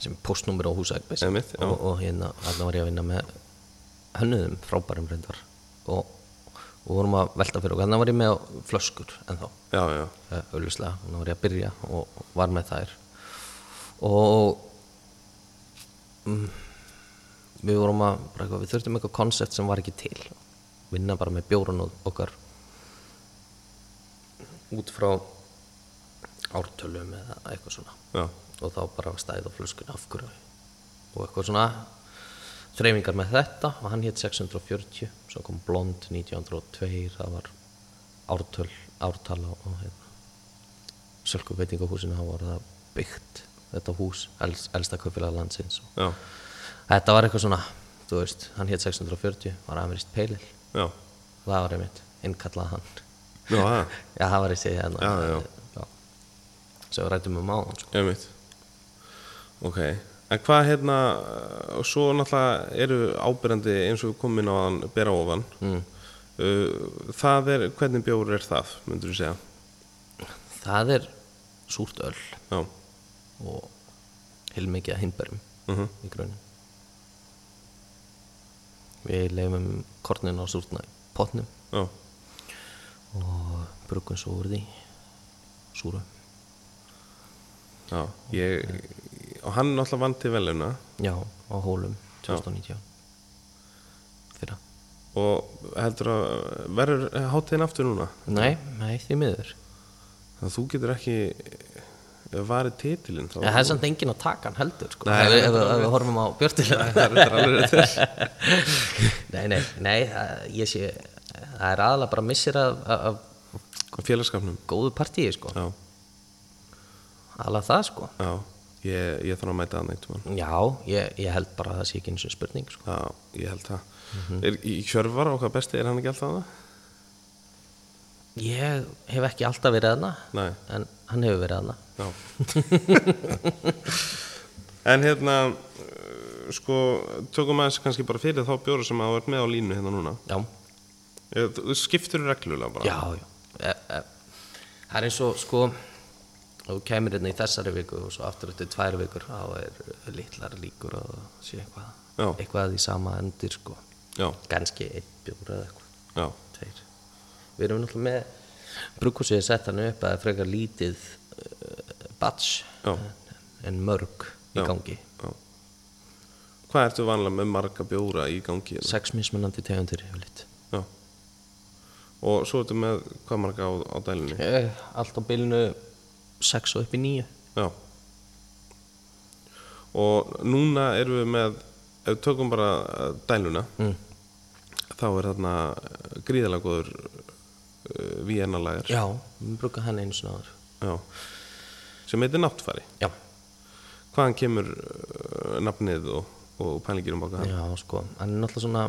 [SPEAKER 2] sem er postnúmer á Húsæk basically.
[SPEAKER 1] Einmitt, já.
[SPEAKER 2] og, og hérna þarna var ég að vinna með hönnuðum frábærum reyndar og, og vorum að velta fyrir okkur þarna var ég með flöskur ennþá
[SPEAKER 1] já, já
[SPEAKER 2] auðvitað, þarna var ég að byrja og og var með þær og mm, við vorum að bara eitthvað, við þurftum eitthvað koncept sem var ekki til vinna bara með bjórun og okkar út frá ártölum eða eitthvað svona
[SPEAKER 1] Já,
[SPEAKER 2] og þá bara stæði á flöskun af hverju og eitthvað svona þreifingar með þetta og hann hétt 640 svo kom Blond 1902 það var ártöl, ártala og hérna sölku veitingahúsinu þá var það byggt þetta hús, els, elsta kaupfélag landsins og
[SPEAKER 1] já,
[SPEAKER 2] þetta var eitthvað svona þú veist, hann hétt 640 var ameríst peilil,
[SPEAKER 1] já
[SPEAKER 2] það var einmitt innkallað hann,
[SPEAKER 1] Já, það,
[SPEAKER 2] já það var ég segið hérna
[SPEAKER 1] Já, já.
[SPEAKER 2] já. svo rættum við máðan sko.
[SPEAKER 1] ég mitt Ok, en hvað hérna uh, og svo náttúrulega eru ábyrjandi eins og við komum inn á hann bera ofan mm. Það er, hvernig bjór er það, myndur þú segja
[SPEAKER 2] það er súrt öll
[SPEAKER 1] Já,
[SPEAKER 2] og heilmikið að hindberjum
[SPEAKER 1] Mhm.
[SPEAKER 2] í grunin við leifum kornin á súrna í potnum
[SPEAKER 1] já,
[SPEAKER 2] og brugum svo úr því súru
[SPEAKER 1] já ég, og hann náttúrulega vann til veluna
[SPEAKER 2] já, á hólum 2019 fyrra
[SPEAKER 1] og heldur að verður hátíðin aftur núna
[SPEAKER 2] nei, nei, því miður
[SPEAKER 1] þannig að þú getur ekki eh, varið titilinn þá
[SPEAKER 2] en það er samt enginn að taka hann heldur sko.
[SPEAKER 1] Nei,
[SPEAKER 2] ef,
[SPEAKER 1] það er
[SPEAKER 2] við- ef, við- ef við horfum á björtilega
[SPEAKER 1] Það er reyndar alveg rétt.
[SPEAKER 2] nei, nei, nei það, ég sé það er aðalega bara missir af, af, af
[SPEAKER 1] Félagskapnum
[SPEAKER 2] góðu partíi sko.
[SPEAKER 1] Já,
[SPEAKER 2] aðalega það sko
[SPEAKER 1] já, ég, ég þarf að mæta hann eitt mann
[SPEAKER 2] Já, ég, ég held bara að það sé ekki eins og spurning sko.
[SPEAKER 1] Já, ég held það er, Í Hjörvar okkar besti, er hann ekki alltaf það?
[SPEAKER 2] Ég hef ekki alltaf verið aðna
[SPEAKER 1] Nei,
[SPEAKER 2] En hann hefur verið aðna
[SPEAKER 1] já En hérna uh, sko, tökum aðeins kannski bara fyrir þá bjóru sem að þú ert með á línu hérna núna
[SPEAKER 2] Já,
[SPEAKER 1] Eh, Þú skiptir reglulega bara
[SPEAKER 2] já, já e, e, Það er eins og sko Þú kemur hérna í þessari viku og svo aftur eftir tvær vikur þá er litlar líkur að það sé eitthvað
[SPEAKER 1] Já.
[SPEAKER 2] eitthvað að því sama endir sko
[SPEAKER 1] já,
[SPEAKER 2] Ganski einn bjór eða eitthvað
[SPEAKER 1] já,
[SPEAKER 2] Tveir Við erum náttúrulega með brúkusið að setja hann upp að það er frekar lítið uh, batch
[SPEAKER 1] Já.
[SPEAKER 2] en, en mörg í
[SPEAKER 1] Já.
[SPEAKER 2] gangi
[SPEAKER 1] já. Hvað ertu vanlega með marga bjóra í gangi? hérna?
[SPEAKER 2] sex mismunandi tegundir yfirleitt
[SPEAKER 1] Já Og svo ertu með hvað marga á, á dælinni?
[SPEAKER 2] Eh, Allt á bylnu 6 og upp í 9
[SPEAKER 1] Já Og núna erum við með ef við tökum bara eh, dæluna
[SPEAKER 2] Mm.
[SPEAKER 1] þá er þarna eh, gríðalega góður uh, Vienna-lagar
[SPEAKER 2] Já, við brúka hann einu svona áður
[SPEAKER 1] Já. sem heitir náttfari
[SPEAKER 2] Já,
[SPEAKER 1] hvaðan kemur uh, nafnið og, og pælingir um baka hann
[SPEAKER 2] já sko, hann er náttúrulega svona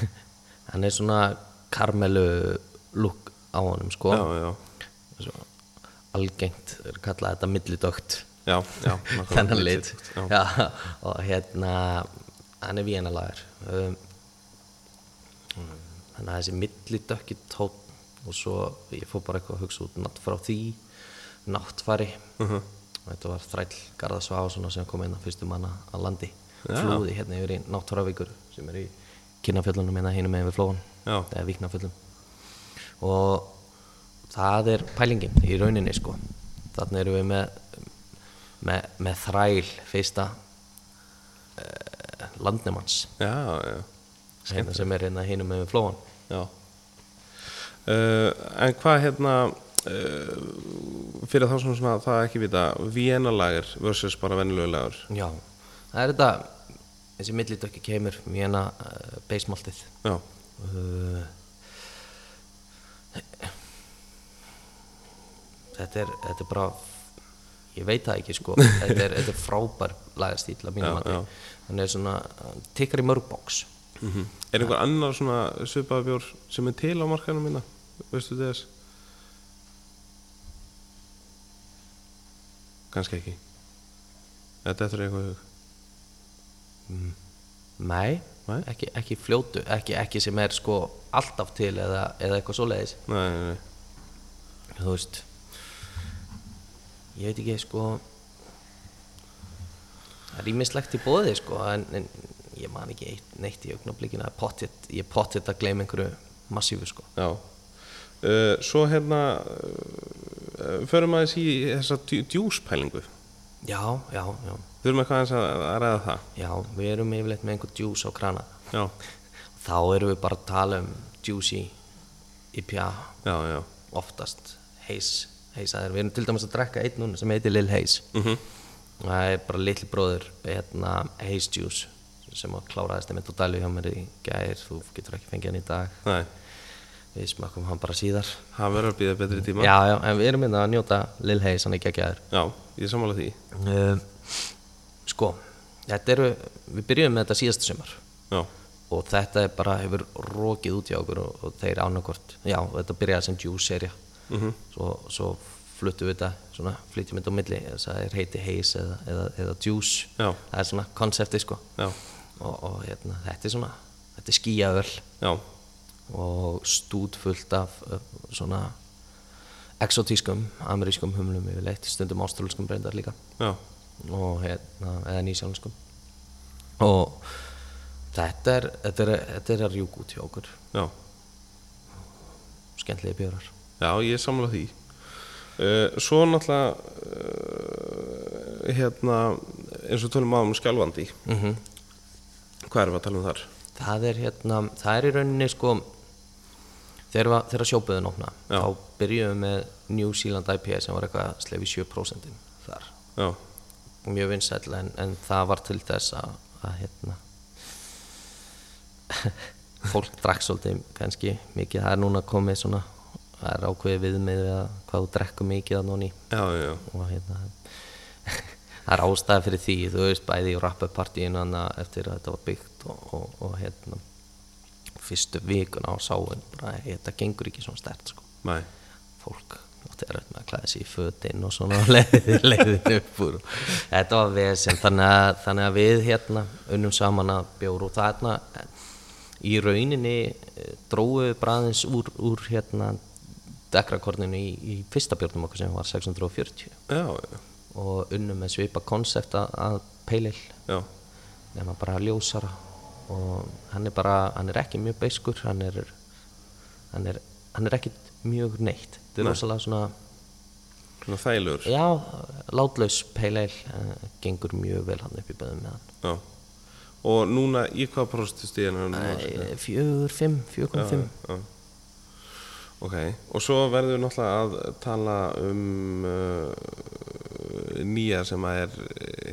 [SPEAKER 2] hann er svona karmelu lúk á honum sko
[SPEAKER 1] Já, já,
[SPEAKER 2] Svo, algengt er kallað þetta millidögt
[SPEAKER 1] já, já nákvæmlega.
[SPEAKER 2] þennan lit
[SPEAKER 1] Já.
[SPEAKER 2] já, og hérna hann er vénalagur um, þannig að þessi millidökki tótt og svo ég fór bara eitthvað að hugsa út nátt frá því náttfari og þetta var þræll Garðar Svavarsson sem kom inn að fyrstu manna að landi
[SPEAKER 1] Já.
[SPEAKER 2] flúði hérna yfir í náttfaravíkur sem er í kynnafjöllunum hérna hinum með við flóan
[SPEAKER 1] Já.
[SPEAKER 2] eða viknafjöllum og það er pælingin í rauninni sko þannig erum við með með, með þræl fyrsta uh, landnemanns
[SPEAKER 1] já, já,
[SPEAKER 2] hérna sem er hérna hinum með flóan
[SPEAKER 1] já. Uh, en hvað hérna uh, fyrir þá sem svona það ekki vita Vienalager versus bara venjulegu lager
[SPEAKER 2] já, það er þetta þessi millitökki kemur mjöna uh, beismáltið
[SPEAKER 1] já,
[SPEAKER 2] uh, þetta er þetta er bara ég veit það ekki sko þetta er, þetta er frábær lagastýl að
[SPEAKER 1] Já,
[SPEAKER 2] mínum mati
[SPEAKER 1] já.
[SPEAKER 2] hann er svona, hann tikkar í mörg bóks
[SPEAKER 1] mm er einhver annar svona svipabjór sem er til á markanum minna veistu þess kannski ekki þetta er eitthvað í hug.
[SPEAKER 2] nei,
[SPEAKER 1] Nei.
[SPEAKER 2] Ekki, ekki fljótu ekki, ekki sem er sko alltaf til eða, eða eitthvað svoleiðis
[SPEAKER 1] nei, nei, nei,
[SPEAKER 2] þú veist ég veit ekki sko það er ímislegt í bóði sko en, en ég man ekki eitt, neitt í augnablikinu að pottit, ég pottit að gleyma einhverju massífu sko
[SPEAKER 1] já uh, svo hérna uh, förum aðeins í þessa djú- djúspælingu
[SPEAKER 2] já, já, já,
[SPEAKER 1] þurfum eitthvað aðeins að, að ræða það
[SPEAKER 2] já við erum yfirleitt með einhver djús á krana
[SPEAKER 1] já,
[SPEAKER 2] þá erum við bara að tala um djúsi IPA
[SPEAKER 1] já, já
[SPEAKER 2] oftast heis, heisaðir, við erum til dæmis að drekka einn núna sem heitir Lil Heis
[SPEAKER 1] mm
[SPEAKER 2] það er bara litli bróður hérna, Haze Juice sem að kláraðist einmitt á dælu hjá mér í gær þú getur ekki fengið hann í dag
[SPEAKER 1] nei,
[SPEAKER 2] við smakkum hann bara síðar
[SPEAKER 1] það verður að býða betri tíma
[SPEAKER 2] já, já, en við erum hérna að njóta Lil Haze, hann er geggjaður
[SPEAKER 1] já ég samála því
[SPEAKER 2] uh, sko, þetta eru við byrjum með þetta síðasta sumar
[SPEAKER 1] já,
[SPEAKER 2] og þetta er bara hefur rokið út hjá okkur og, og þeir ánakort já, þetta byrjaði sem Juice-serja svo, svo fluttum við þetta svona, flytjum þetta á milli, það er heiti Haze eða, eða, eða Juice
[SPEAKER 1] Já.
[SPEAKER 2] það er svona konsepti sko
[SPEAKER 1] já,
[SPEAKER 2] og, og hérna, þetta er svona þetta er skíjaöl
[SPEAKER 1] já,
[SPEAKER 2] og stút fullt af uh, svona exotískum, amerískum humlum yfirleitt, stundum ástralskum breyndar líka
[SPEAKER 1] já
[SPEAKER 2] og hérna, eða nýsjálfskum og þetta er, þetta er, þetta er að rjúk út hjá okkur
[SPEAKER 1] já,
[SPEAKER 2] skemmtlegi björar
[SPEAKER 1] já ég samála því uh, svo náttúrulega uh, hérna eins og tölum aðum skjálfandi
[SPEAKER 2] mm -hmm.
[SPEAKER 1] hvað erum við að tala um þar?
[SPEAKER 2] það er hérna, það er í rauninni sko þegar, var- þegar sjóbuðin opna
[SPEAKER 1] Já.
[SPEAKER 2] þá byrjuðum við með New Zealand IPA sem var eitthvað slefi 7% þar
[SPEAKER 1] já,
[SPEAKER 2] mjög vinsæll en, en það var til þess að, að hérna fólk drakk svolítið kannski mikið, það er núna komið svona það er ákveðið viðmið við að hvað þú drekku mikið að nóni
[SPEAKER 1] já, já,
[SPEAKER 2] og hérna það er ástæða fyrir því, þú veist, bæði í rappapartíinu hann eftir að þetta var byggt og, og, og hérna fyrstu vikuna á sáin bara, þetta gengur ekki svona stert sko
[SPEAKER 1] næ
[SPEAKER 2] fólk átti erfitt með að klæða sig í fötin og svona leiðið leiðin upp úr þetta var vesen þannig að, þannig að við hérna unnum saman að bjóru og þarna í rauninni eh, drógu við bræðins úr, úr hérna dekrakorninu í, í fyrsta björnum okkar sem var 640
[SPEAKER 1] já,
[SPEAKER 2] og unnum með svipa konsept að, að peilil
[SPEAKER 1] já,
[SPEAKER 2] nema bara ljósara og hann er bara, hann er ekki mjög beiskur hann er hann er, hann er ekki mjög neitt þetta er
[SPEAKER 1] Nei.
[SPEAKER 2] rosalega svona,
[SPEAKER 1] svona þælur
[SPEAKER 2] já, látlaus peileil, gengur mjög vel hann upp í bæðum með hann
[SPEAKER 1] já og núna í hvað prostustíðan er hann núna?
[SPEAKER 2] Eh, fjögur, fimm, fjögur komum fimm
[SPEAKER 1] já. Ok, og svo verðum við náttúrulega að tala um uh, nýja sem að er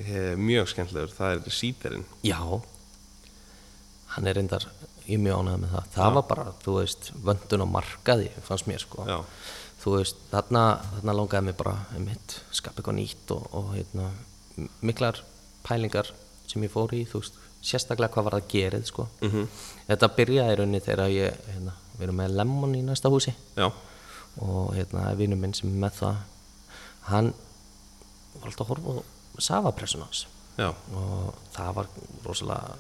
[SPEAKER 1] hef, mjög skemmtilegur, það er síterinn.
[SPEAKER 2] já hann er reyndar, ég er mjög ánægð með það það var bara, þú veist, vöndun á markaði fannst mér sko
[SPEAKER 1] Já,
[SPEAKER 2] þú veist, þarna, þarna langaði mig bara um hitt, skapa eitthvað nýtt og, og hérna, m- miklar pælingar sem ég fór í, þú veist sérstaklega hvað var það gerið, sko -hmm. þetta byrjaði í rauninni þegar ég hérna, við erum með Lemon í næsta húsi
[SPEAKER 1] já,
[SPEAKER 2] og hérna, það er vinur minn sem er með það hann var alltaf að horfa á safapressun hans
[SPEAKER 1] já,
[SPEAKER 2] og það var rosalega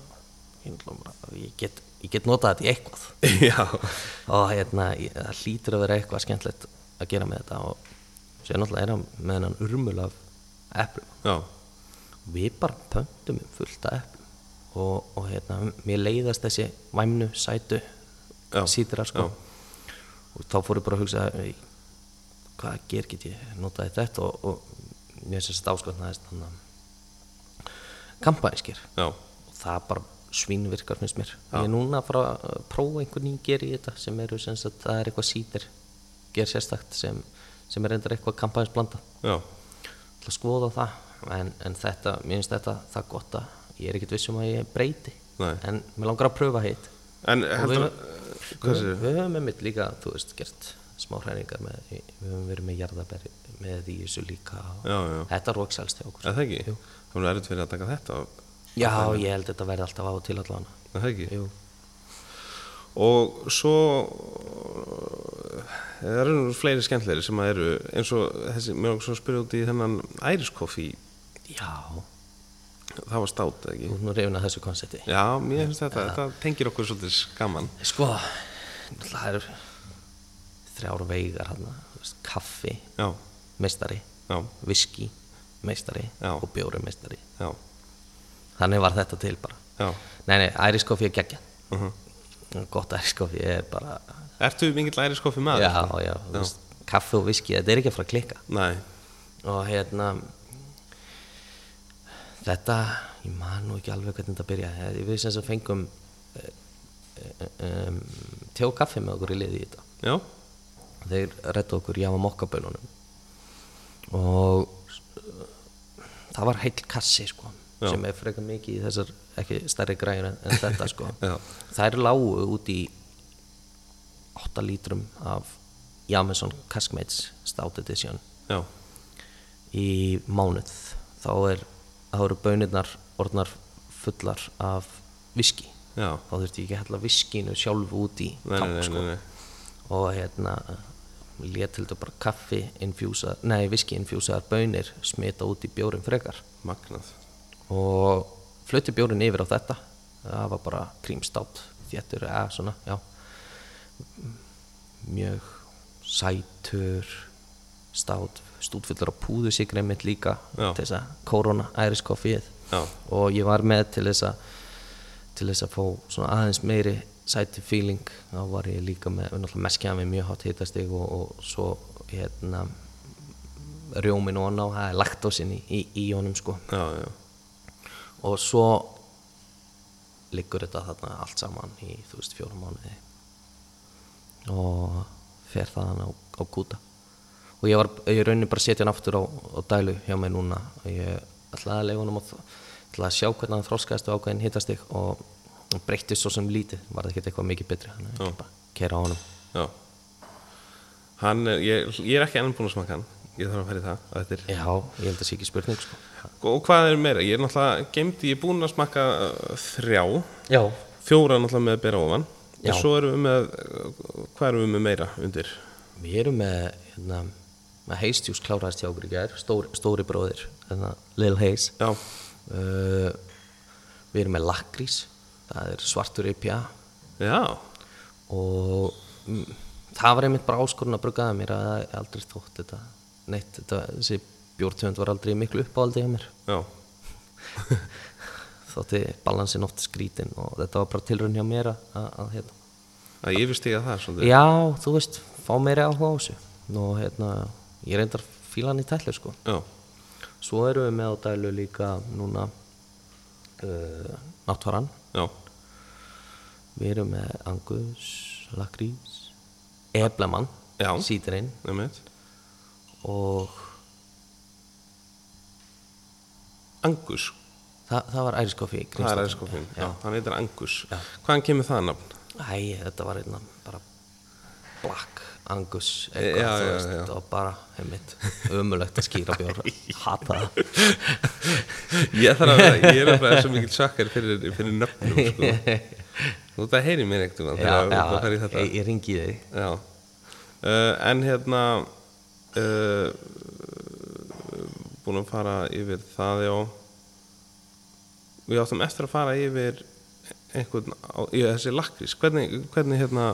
[SPEAKER 2] ég, ætla bara- ég, get, ég get notað þetta í eitthvað
[SPEAKER 1] já,
[SPEAKER 2] og hérna, ég- það hlýtur að vera eitthvað skemmtilegt að gera með þetta og svo er náttúrulega er hann með hennan urmul af eplum
[SPEAKER 1] já,
[SPEAKER 2] við bara pöntum um fullt af eplum og, og hérna, mér leiðast þessi væmnu, sætu
[SPEAKER 1] Já,
[SPEAKER 2] sítrar sko
[SPEAKER 1] já.
[SPEAKER 2] og þá fór ég bara að hugsa "Ey, hvað ger get ég notaði þetta og, og mér finnst þetta áskotnaðist þannig að kampanskir
[SPEAKER 1] já,
[SPEAKER 2] og það bara svínvirkar finnst mér ég er núna að fara að prófa einhvern nýjum ger í þetta sem eru sem sagt, það er eitthvað sítir ger sérstakt sem, sem er reyndar eitthvað kampansblanda
[SPEAKER 1] já,
[SPEAKER 2] til að skoða það en, en þetta, mér finnst þetta það gott að ég er ekkert viss um að ég breyti
[SPEAKER 1] Nei.
[SPEAKER 2] en mér langar að pröfa hitt
[SPEAKER 1] en heldur
[SPEAKER 2] við-
[SPEAKER 1] hvað
[SPEAKER 2] við,
[SPEAKER 1] séu?
[SPEAKER 2] við höfum einmitt líka, þú veist, gert smá hræningar með, í- við höfum verið með jarðabær með í þessu líka og
[SPEAKER 1] Já, já.
[SPEAKER 2] þetta rókselst hjá okkur
[SPEAKER 1] Er það ekki? Það er erfitt fyrir að taka þetta af-
[SPEAKER 2] Já, ég held þetta verði alltaf á og til allan
[SPEAKER 1] Er það ekki?
[SPEAKER 2] Jú,
[SPEAKER 1] Og svo eh, það eru nú fleiri skemmtleiri sem að eru eins og þessi, mér langar svo að spyrja út í þennan æriskoffi,
[SPEAKER 2] já,
[SPEAKER 1] það var stát eða ekki?
[SPEAKER 2] þú er nú reyfin að þessu konsepti
[SPEAKER 1] Já, mér finnst þetta, þetta tengir okkur svolítið gaman
[SPEAKER 2] Sko, náttúrulega það eru þrjár veigar hann kaffi,
[SPEAKER 1] Já,
[SPEAKER 2] meistari
[SPEAKER 1] já,
[SPEAKER 2] viski, meistari
[SPEAKER 1] Já.
[SPEAKER 2] og bjóri meistari
[SPEAKER 1] já,
[SPEAKER 2] þannig var þetta til bara
[SPEAKER 1] já
[SPEAKER 2] Nei, nei, æriskoffi er geggja
[SPEAKER 1] uh
[SPEAKER 2] gott æriskoffi er bara
[SPEAKER 1] Ertu mikill æriskoffi
[SPEAKER 2] já,
[SPEAKER 1] maður?
[SPEAKER 2] já, þú veist, kaffi og viski þetta er ekki að fara að klikka
[SPEAKER 1] Nei,
[SPEAKER 2] og hérna þetta, ég man nú ekki alveg hvernig þetta byrja við sem sem fengum eh, eh, um, tjó kaffi með okkur í liði í þetta
[SPEAKER 1] já,
[SPEAKER 2] þeir rettu okkur jáma mokkabönunum og uh, það var heil kassi sko
[SPEAKER 1] Já.
[SPEAKER 2] sem er frekar mikið í þessar ekki stærri græjur en en þetta sko
[SPEAKER 1] Já.
[SPEAKER 2] þær lágu út í 8 lítrum af Jameson Caskmates Stout Edition
[SPEAKER 1] já,
[SPEAKER 2] í mánuð þá, er, þá eru bönirnar orðnar fullar af viski
[SPEAKER 1] já
[SPEAKER 2] þá þurfti ég ekki að hella viskinu sjálf út í
[SPEAKER 1] Nei, nei,
[SPEAKER 2] tank,
[SPEAKER 1] nei,
[SPEAKER 2] sko
[SPEAKER 1] nei, nei.
[SPEAKER 2] og hérna lét til þetta bara kaffi infjúsa, nei viski infjúsaðar bönir smita út í bjórin frekar
[SPEAKER 1] Magnað
[SPEAKER 2] og flutti bjórin yfir á þetta það var bara krímstátt þéttur, eða svona, já mjög sætur stát, stútfullur á púðu sigri mitt líka
[SPEAKER 1] Já.
[SPEAKER 2] til þess að korona æriskoffið
[SPEAKER 1] Já,
[SPEAKER 2] og ég var með til þess að til þess að fá svona aðeins meiri sæti feeling, þá var ég líka með náttúrulega meskjaði með mjög hátt hitastig og, og svo hérna rjómin og annað, það er laktósin í, í, í honum sko
[SPEAKER 1] já, já
[SPEAKER 2] og svo liggur þetta þarna allt saman í þú veist fjórum mánuði og fer það hann á, á kúta og ég var ég raunin bara að setja hann aftur á, á dælu hjá mig núna og ég ætlaði að leifa hann að ætlaði að sjá hvernig hann þróskaðist og ákveðin hittastig og og breyttist svo sem lítið var það ekkert eitthvað mikið betri þannig að
[SPEAKER 1] Já.
[SPEAKER 2] ég bara kera á honum
[SPEAKER 1] Já Hann er, ég, ég er ekki ennum búin að smaka hann Ég þarf að fara í það að þetta er
[SPEAKER 2] já, ég held að sé ekki spurning sko.
[SPEAKER 1] Og hvað er meira? Ég er náttúrulega gemdi, ég er búin að smaka uh, þrjá
[SPEAKER 2] já,
[SPEAKER 1] Fjóra náttúrulega með að bera ofan
[SPEAKER 2] Já.
[SPEAKER 1] En svo erum við með, uh, hvað erum við með meira undir?
[SPEAKER 2] við erum með hérna, með heistjús kláraðist hjá okkur í gær stóri, stóri bróðir, hérna, Lil Hayes
[SPEAKER 1] Já,
[SPEAKER 2] Uh, við erum með lakrís, það er svartur IPA
[SPEAKER 1] já,
[SPEAKER 2] og mm, það var einmitt bara áskorun að bruggaða mér að það er aldrei þótt þetta neitt, þetta, þessi bjórtöfund var aldrei í miklu uppáhaldi hjá mér
[SPEAKER 1] já,
[SPEAKER 2] þótti balansin oft skrítin og þetta var bara tilraun hjá mér að, að, að hérna.
[SPEAKER 1] að ég visti ekki að það svolítið
[SPEAKER 2] já, þú veist, fá meiri áhuga á þessu og hérna, ég reyndar fílan í tætlu sko
[SPEAKER 1] Já,
[SPEAKER 2] svo erum við með á dælu líka núna uh, náttvaran
[SPEAKER 1] já,
[SPEAKER 2] Við erum með Angus, Lakrís, Eblamann,
[SPEAKER 1] Já.
[SPEAKER 2] Sídrein
[SPEAKER 1] nefnir
[SPEAKER 2] og
[SPEAKER 1] Angus,
[SPEAKER 2] þa það var æriskoffi í
[SPEAKER 1] það er
[SPEAKER 2] Grímsnætti.
[SPEAKER 1] æskofinn Já, hann heitir Angus Hvaðan kemur það nafn?
[SPEAKER 2] Æ, þetta var einna bara Black Angus
[SPEAKER 1] Já,
[SPEAKER 2] þú
[SPEAKER 1] já,
[SPEAKER 2] veist,
[SPEAKER 1] já.
[SPEAKER 2] Þetta var bara, heimitt, ömulegt að skýra bjór, hata það.
[SPEAKER 1] Ég þarf að vera, ég er að vera svo mikill sjakkar fyrir, fyrir nöfnum sko. Þú þetta heyri mér ekkert um hann þegar þú
[SPEAKER 2] já,
[SPEAKER 1] færi þetta
[SPEAKER 2] ég, ég ringi þig.
[SPEAKER 1] Já uh, En hérna uh, Búin að fara yfir það já Við áttum eftir að fara yfir einhvern, á, í þessi lakrís hvernig, hvernig hérna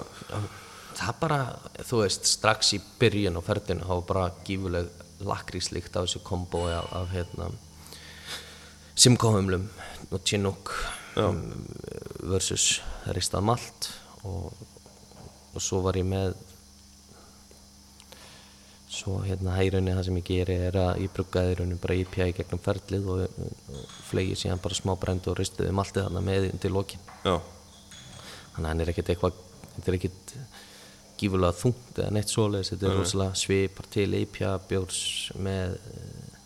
[SPEAKER 2] Það bara, þú veist, strax í byrjun á ferðinu þá var bara gífuleg lakríslíkt af þessu kombói af, af hérna simkóhumlum og Chinook um, versus ristað malt og, og svo var ég með svo hérna það í rauninni það sem ég geri er að ég bruggaði í rauninni bara IPA í gegnum ferlið og, og flegi síðan bara smá brend og ristuði maltið þarna með inn til lokin
[SPEAKER 1] Já,
[SPEAKER 2] þannig að hann er ekkert eitthvað þetta er ekkert eh, gífurlega þungt eða neitt svoleiðis, þetta er rosalega svipar til IPA bjórs með eh,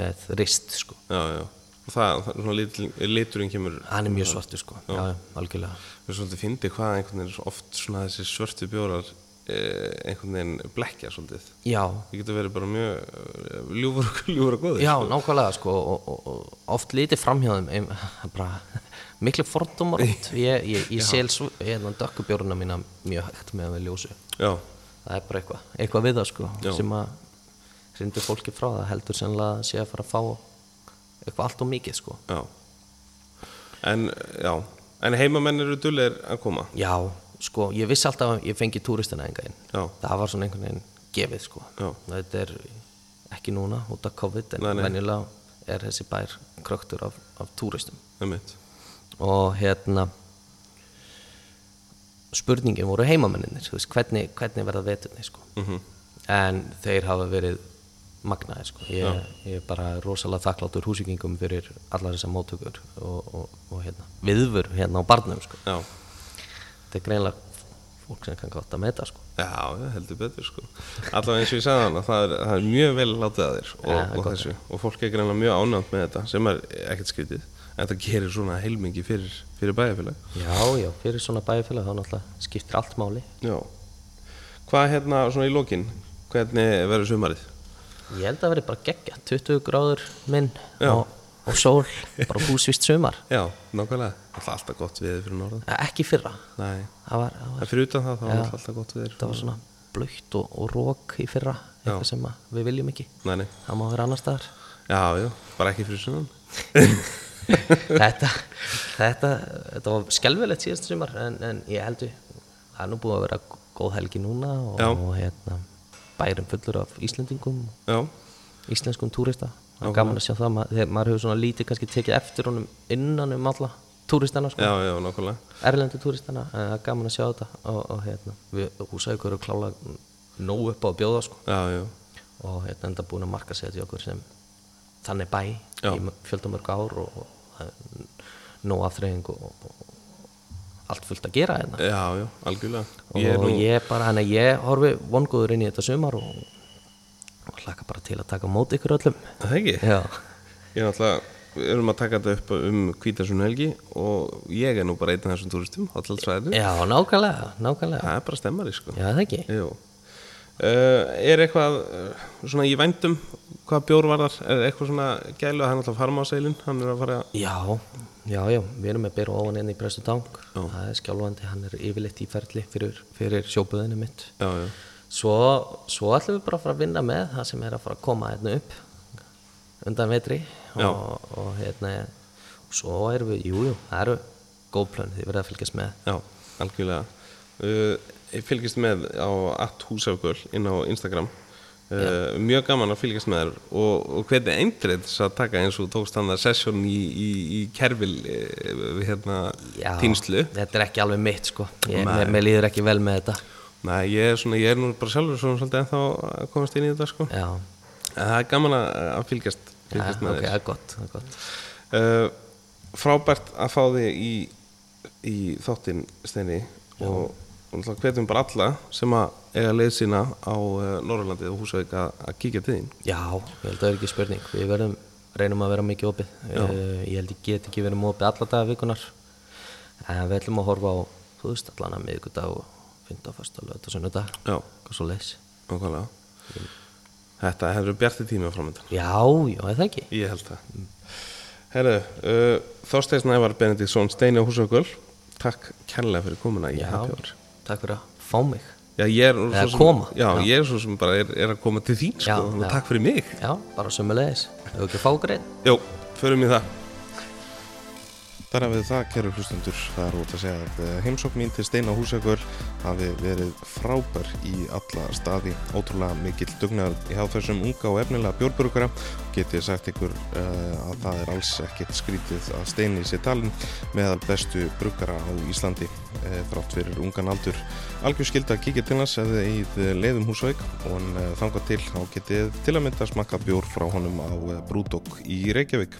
[SPEAKER 2] með rist sko
[SPEAKER 1] já, já. Og það, það er svona litur, liturinn kemur
[SPEAKER 2] hann er mjög svartur sko, já, já algjörlega
[SPEAKER 1] Við erum svolítið fyndið hvað einhvern veginn er svo oft svona þessi svörtu bjórar eh, einhvern veginn blekja svolítið.
[SPEAKER 2] já,
[SPEAKER 1] Það getur verið bara mjög eh, ljúfur og, ljúfur og góður.
[SPEAKER 2] Já, nákvæmlega sko og, og, og oft lítið framhjáðum ein, bara, miklu fordómar oft. ég, ég, ég sel svo hérna, dökkubjórna mína mjög hægt með að við ljósu
[SPEAKER 1] Já,
[SPEAKER 2] það er bara eitthvað, eitthvað við það sko
[SPEAKER 1] Já.
[SPEAKER 2] sem að rindu fólki frá það heldur sennilega að sé að fara að fá eitthvað allt og mikið sko
[SPEAKER 1] já. En, já. En heimamenn eru dullir að koma.
[SPEAKER 2] Já, sko, ég vissi alltaf að ég fengi túristina enga inn
[SPEAKER 1] Já.
[SPEAKER 2] það var svona einhvern veginn gefið sko
[SPEAKER 1] Já.
[SPEAKER 2] þetta er ekki núna út af COVID en
[SPEAKER 1] Nei, nei.
[SPEAKER 2] venjulega er þessi bær kröktur af, af túristum
[SPEAKER 1] Það mitt.
[SPEAKER 2] og hérna spurningin voru heimamenninir þú veist, hvernig, hvernig verða veturni sko.
[SPEAKER 1] Mhm.
[SPEAKER 2] -hmm. en þeir hafa verið magnaðir sko. ég, ég er bara rosalega þakklátur húsíkingum fyrir allar þessar móttökur og, og, og hérna, viðvur hérna á barnum sko.
[SPEAKER 1] Já.
[SPEAKER 2] þetta er greinlega fólk sem kann gott að meta sko.
[SPEAKER 1] Já, já, heldur betur sko Allavega eins og ég sagði hana, það er, það er mjög vel látið að þér og,
[SPEAKER 2] Ja, það er
[SPEAKER 1] og
[SPEAKER 2] gott.
[SPEAKER 1] þessu og fólk er greinlega mjög ánæmt með þetta sem er ekkert skrítið en það gerir svona heilmingi fyrir, fyrir bæjarfélag
[SPEAKER 2] já, já, fyrir svona bæjarfélag þá náttúrulega skiptir allt máli
[SPEAKER 1] Já Hvað hérna svona í lokin, hvernig verður sumarið?
[SPEAKER 2] ég held að verið bara geggja 20 gráður minn
[SPEAKER 1] Já.
[SPEAKER 2] og, og sól, bara húsvist sumar Eh,
[SPEAKER 1] Já, nákvæmlega Alltaf alltaf gott veður fyrir norðan
[SPEAKER 2] ekki fyrra
[SPEAKER 1] Nei,
[SPEAKER 2] það var, það var
[SPEAKER 1] það er fyrir utan það þá er alltaf alltaf gott veður
[SPEAKER 2] þetta var svona blökt og, og rók í fyrra eitthvað sem að við viljum ekki
[SPEAKER 1] Nei, nei,
[SPEAKER 2] það má vera annar staðar
[SPEAKER 1] já, já, bara ekki fyrir sunnan
[SPEAKER 2] þetta, þetta, þetta var skelvilegt síðast sumar en, en ég heldur það er nú búið að vera góð helgi núna og,
[SPEAKER 1] Já.
[SPEAKER 2] og hérna, bærum fullur af Íslendingum
[SPEAKER 1] Já,
[SPEAKER 2] íslenskum túrista það er gaman að sjá það ma- þegar maður hefur svona lítið kannski tekið eftir honum innan um alla túristana sko.
[SPEAKER 1] já, já, nákvæmlega
[SPEAKER 2] erlendu túristana en það er gaman að sjá þetta og, og hérna, við húsaukur eru klála nóg upp á að bjóða sko.
[SPEAKER 1] Já, já,
[SPEAKER 2] og hérna enda búin að marka setja okkur sem þannig bæ
[SPEAKER 1] Já.
[SPEAKER 2] í fjöldamörg ár og, og það er nóg afþreying og, og, og allt fullt að gera hérna
[SPEAKER 1] já, já, algjörlega Ég er
[SPEAKER 2] og
[SPEAKER 1] nú,
[SPEAKER 2] ég bara, hann að ég horfi vongóður inn í þetta sumar og, og hlaka bara til að taka á móti ykkur öllum
[SPEAKER 1] það ekki?
[SPEAKER 2] já,
[SPEAKER 1] Ég er náttúrulega, við erum að taka þetta upp um Kvítasun helgi og ég er nú bara einn af þessum túristum, Hollandsvæðinu.
[SPEAKER 2] já nákvæmlega nákvæmlega,
[SPEAKER 1] Það er bara stemmari, sko.
[SPEAKER 2] já það ekki
[SPEAKER 1] Jú. Uh, er eitthvað uh, svona í vændum, hvað bjór varðar, er eitthvað svona gælu að hann er alltaf farmaseilin, hann er að fara að...
[SPEAKER 2] já, já, já, við erum með byrja ofan inn í Brestu Tank það er skjálfandi, hann er yfirleitt í ferli fyrir, fyrir sjóbuðinu mitt
[SPEAKER 1] Já, já,
[SPEAKER 2] Svo, svo ætlum við bara að fara að vinna með það sem er að fara að koma hérna upp undan vetri
[SPEAKER 1] Já.
[SPEAKER 2] og, og hérna og svo erum við, jújú, jú, það eru góð plön því verða að fylgjast með
[SPEAKER 1] já, algjörlega. Uh, ég fylgist með á atthúsafgöl inn á Instagram. Uh, mjög gaman að fylgjast með þér og, og hvernig eindrið þess að taka eins og tókst hann að sessjón í, í, í kerfil uh, hérna, týnslu
[SPEAKER 2] Þetta er ekki alveg mitt sko, ég,
[SPEAKER 1] Nei.
[SPEAKER 2] mér, mér líður ekki vel með þetta
[SPEAKER 1] Nei, ég er, svona, ég er nú bara sjálfur svona svolítið ennþá að komast inn í þetta sko.
[SPEAKER 2] Já,
[SPEAKER 1] En það er gaman að að fylgjast,
[SPEAKER 2] já ok,
[SPEAKER 1] fylgjast með
[SPEAKER 2] það er gott, það er gott.
[SPEAKER 1] þér. Uh, frábært að fá þig í, í þáttinn steini og, og náttúrulega hvetjum bara alla sem að eiga leið sína á uh, Norrlandið og Húsavík að, að kíkja til þín.
[SPEAKER 2] Já, ég held að það er ekki spurning Við verðum, reynum að vera mikið opið uh, Ég held ég get ekki verið opið alla daga vikunar En við ætlum að horfa á, þú veist, allan að miðvikudag og fynda á fyrsta lögð og sunnudag
[SPEAKER 1] Já,
[SPEAKER 2] Hvað svo leys
[SPEAKER 1] okkarlega.
[SPEAKER 2] Mm.
[SPEAKER 1] Þetta hefur bjartir tíma framöndan.
[SPEAKER 2] Já, já, er það ekki
[SPEAKER 1] Ég held það
[SPEAKER 2] Mm.
[SPEAKER 1] Herðu, uh, Þorsteins Nævar Benediktsson, Steini og Húsaköl Takk kærlega fyrir komuna í Happy Hour
[SPEAKER 2] Takk fyrir að fá mig
[SPEAKER 1] Já, ég er
[SPEAKER 2] Eða
[SPEAKER 1] svo sem,
[SPEAKER 2] koma.
[SPEAKER 1] já, ég er svo sem bara er, er að koma til þín sko,
[SPEAKER 2] Já,
[SPEAKER 1] já,
[SPEAKER 2] já.
[SPEAKER 1] Takk fyrir mig
[SPEAKER 2] Já, bara sömulegis Hefur ekki að fá greið
[SPEAKER 1] Jó, förum í það Þar að við það, kæru hlustendur, það er út að segja að heimsókn mín til Steina Húsakur hafi verið frábær í alla staði, ótrúlega mikill dugnar hjá þessum unga og efnilega bjórburgara get ég sagt ykkur uh, að það er alls ekkert skrítið að Steini sé talin meðal bestu brugara á Íslandi eh, þrátt fyrir ungan aldur. Algjör skilda að kíkja til hans ef þið eigið eh, leiðum húsveik og hann eh, þangað til þá getið til að mynda smakka bjór frá honum á eh, Brúdók í Reykjavík.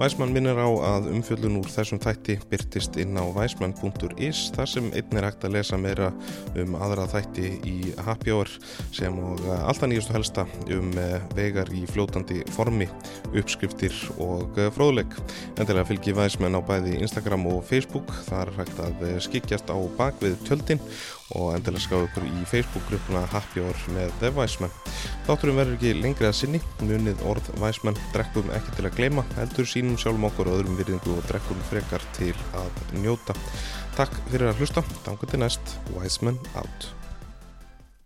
[SPEAKER 1] Væsmann minnir á að umfjöllun úr þessum þætti byrtist inn á væsmann.is þar sem einn er hægt að lesa meira um aðra þætti í Happy Hour sem og eh, alltaf nýjustu helsta um eh, vegar í fljótandi formi, uppskriftir og eh, fróðleik. Endilega fylgi væsmenn á bæði Instagram og Facebook, þar er hægt að eh, skikjast á bakvið tjöldin og endilega skrá ykkur í Facebook-gruppuna Happy Hour með The Væsmenn. Þátturum verður ekki lengri að sinni, munið orð Væsmenn drekkum ekki til að gleyma, heldur sínum sjálfum okkur og öðrum virðingu og drekkum frekar til að njóta. Takk fyrir að hlusta, þangu til næst, Væsmenn out.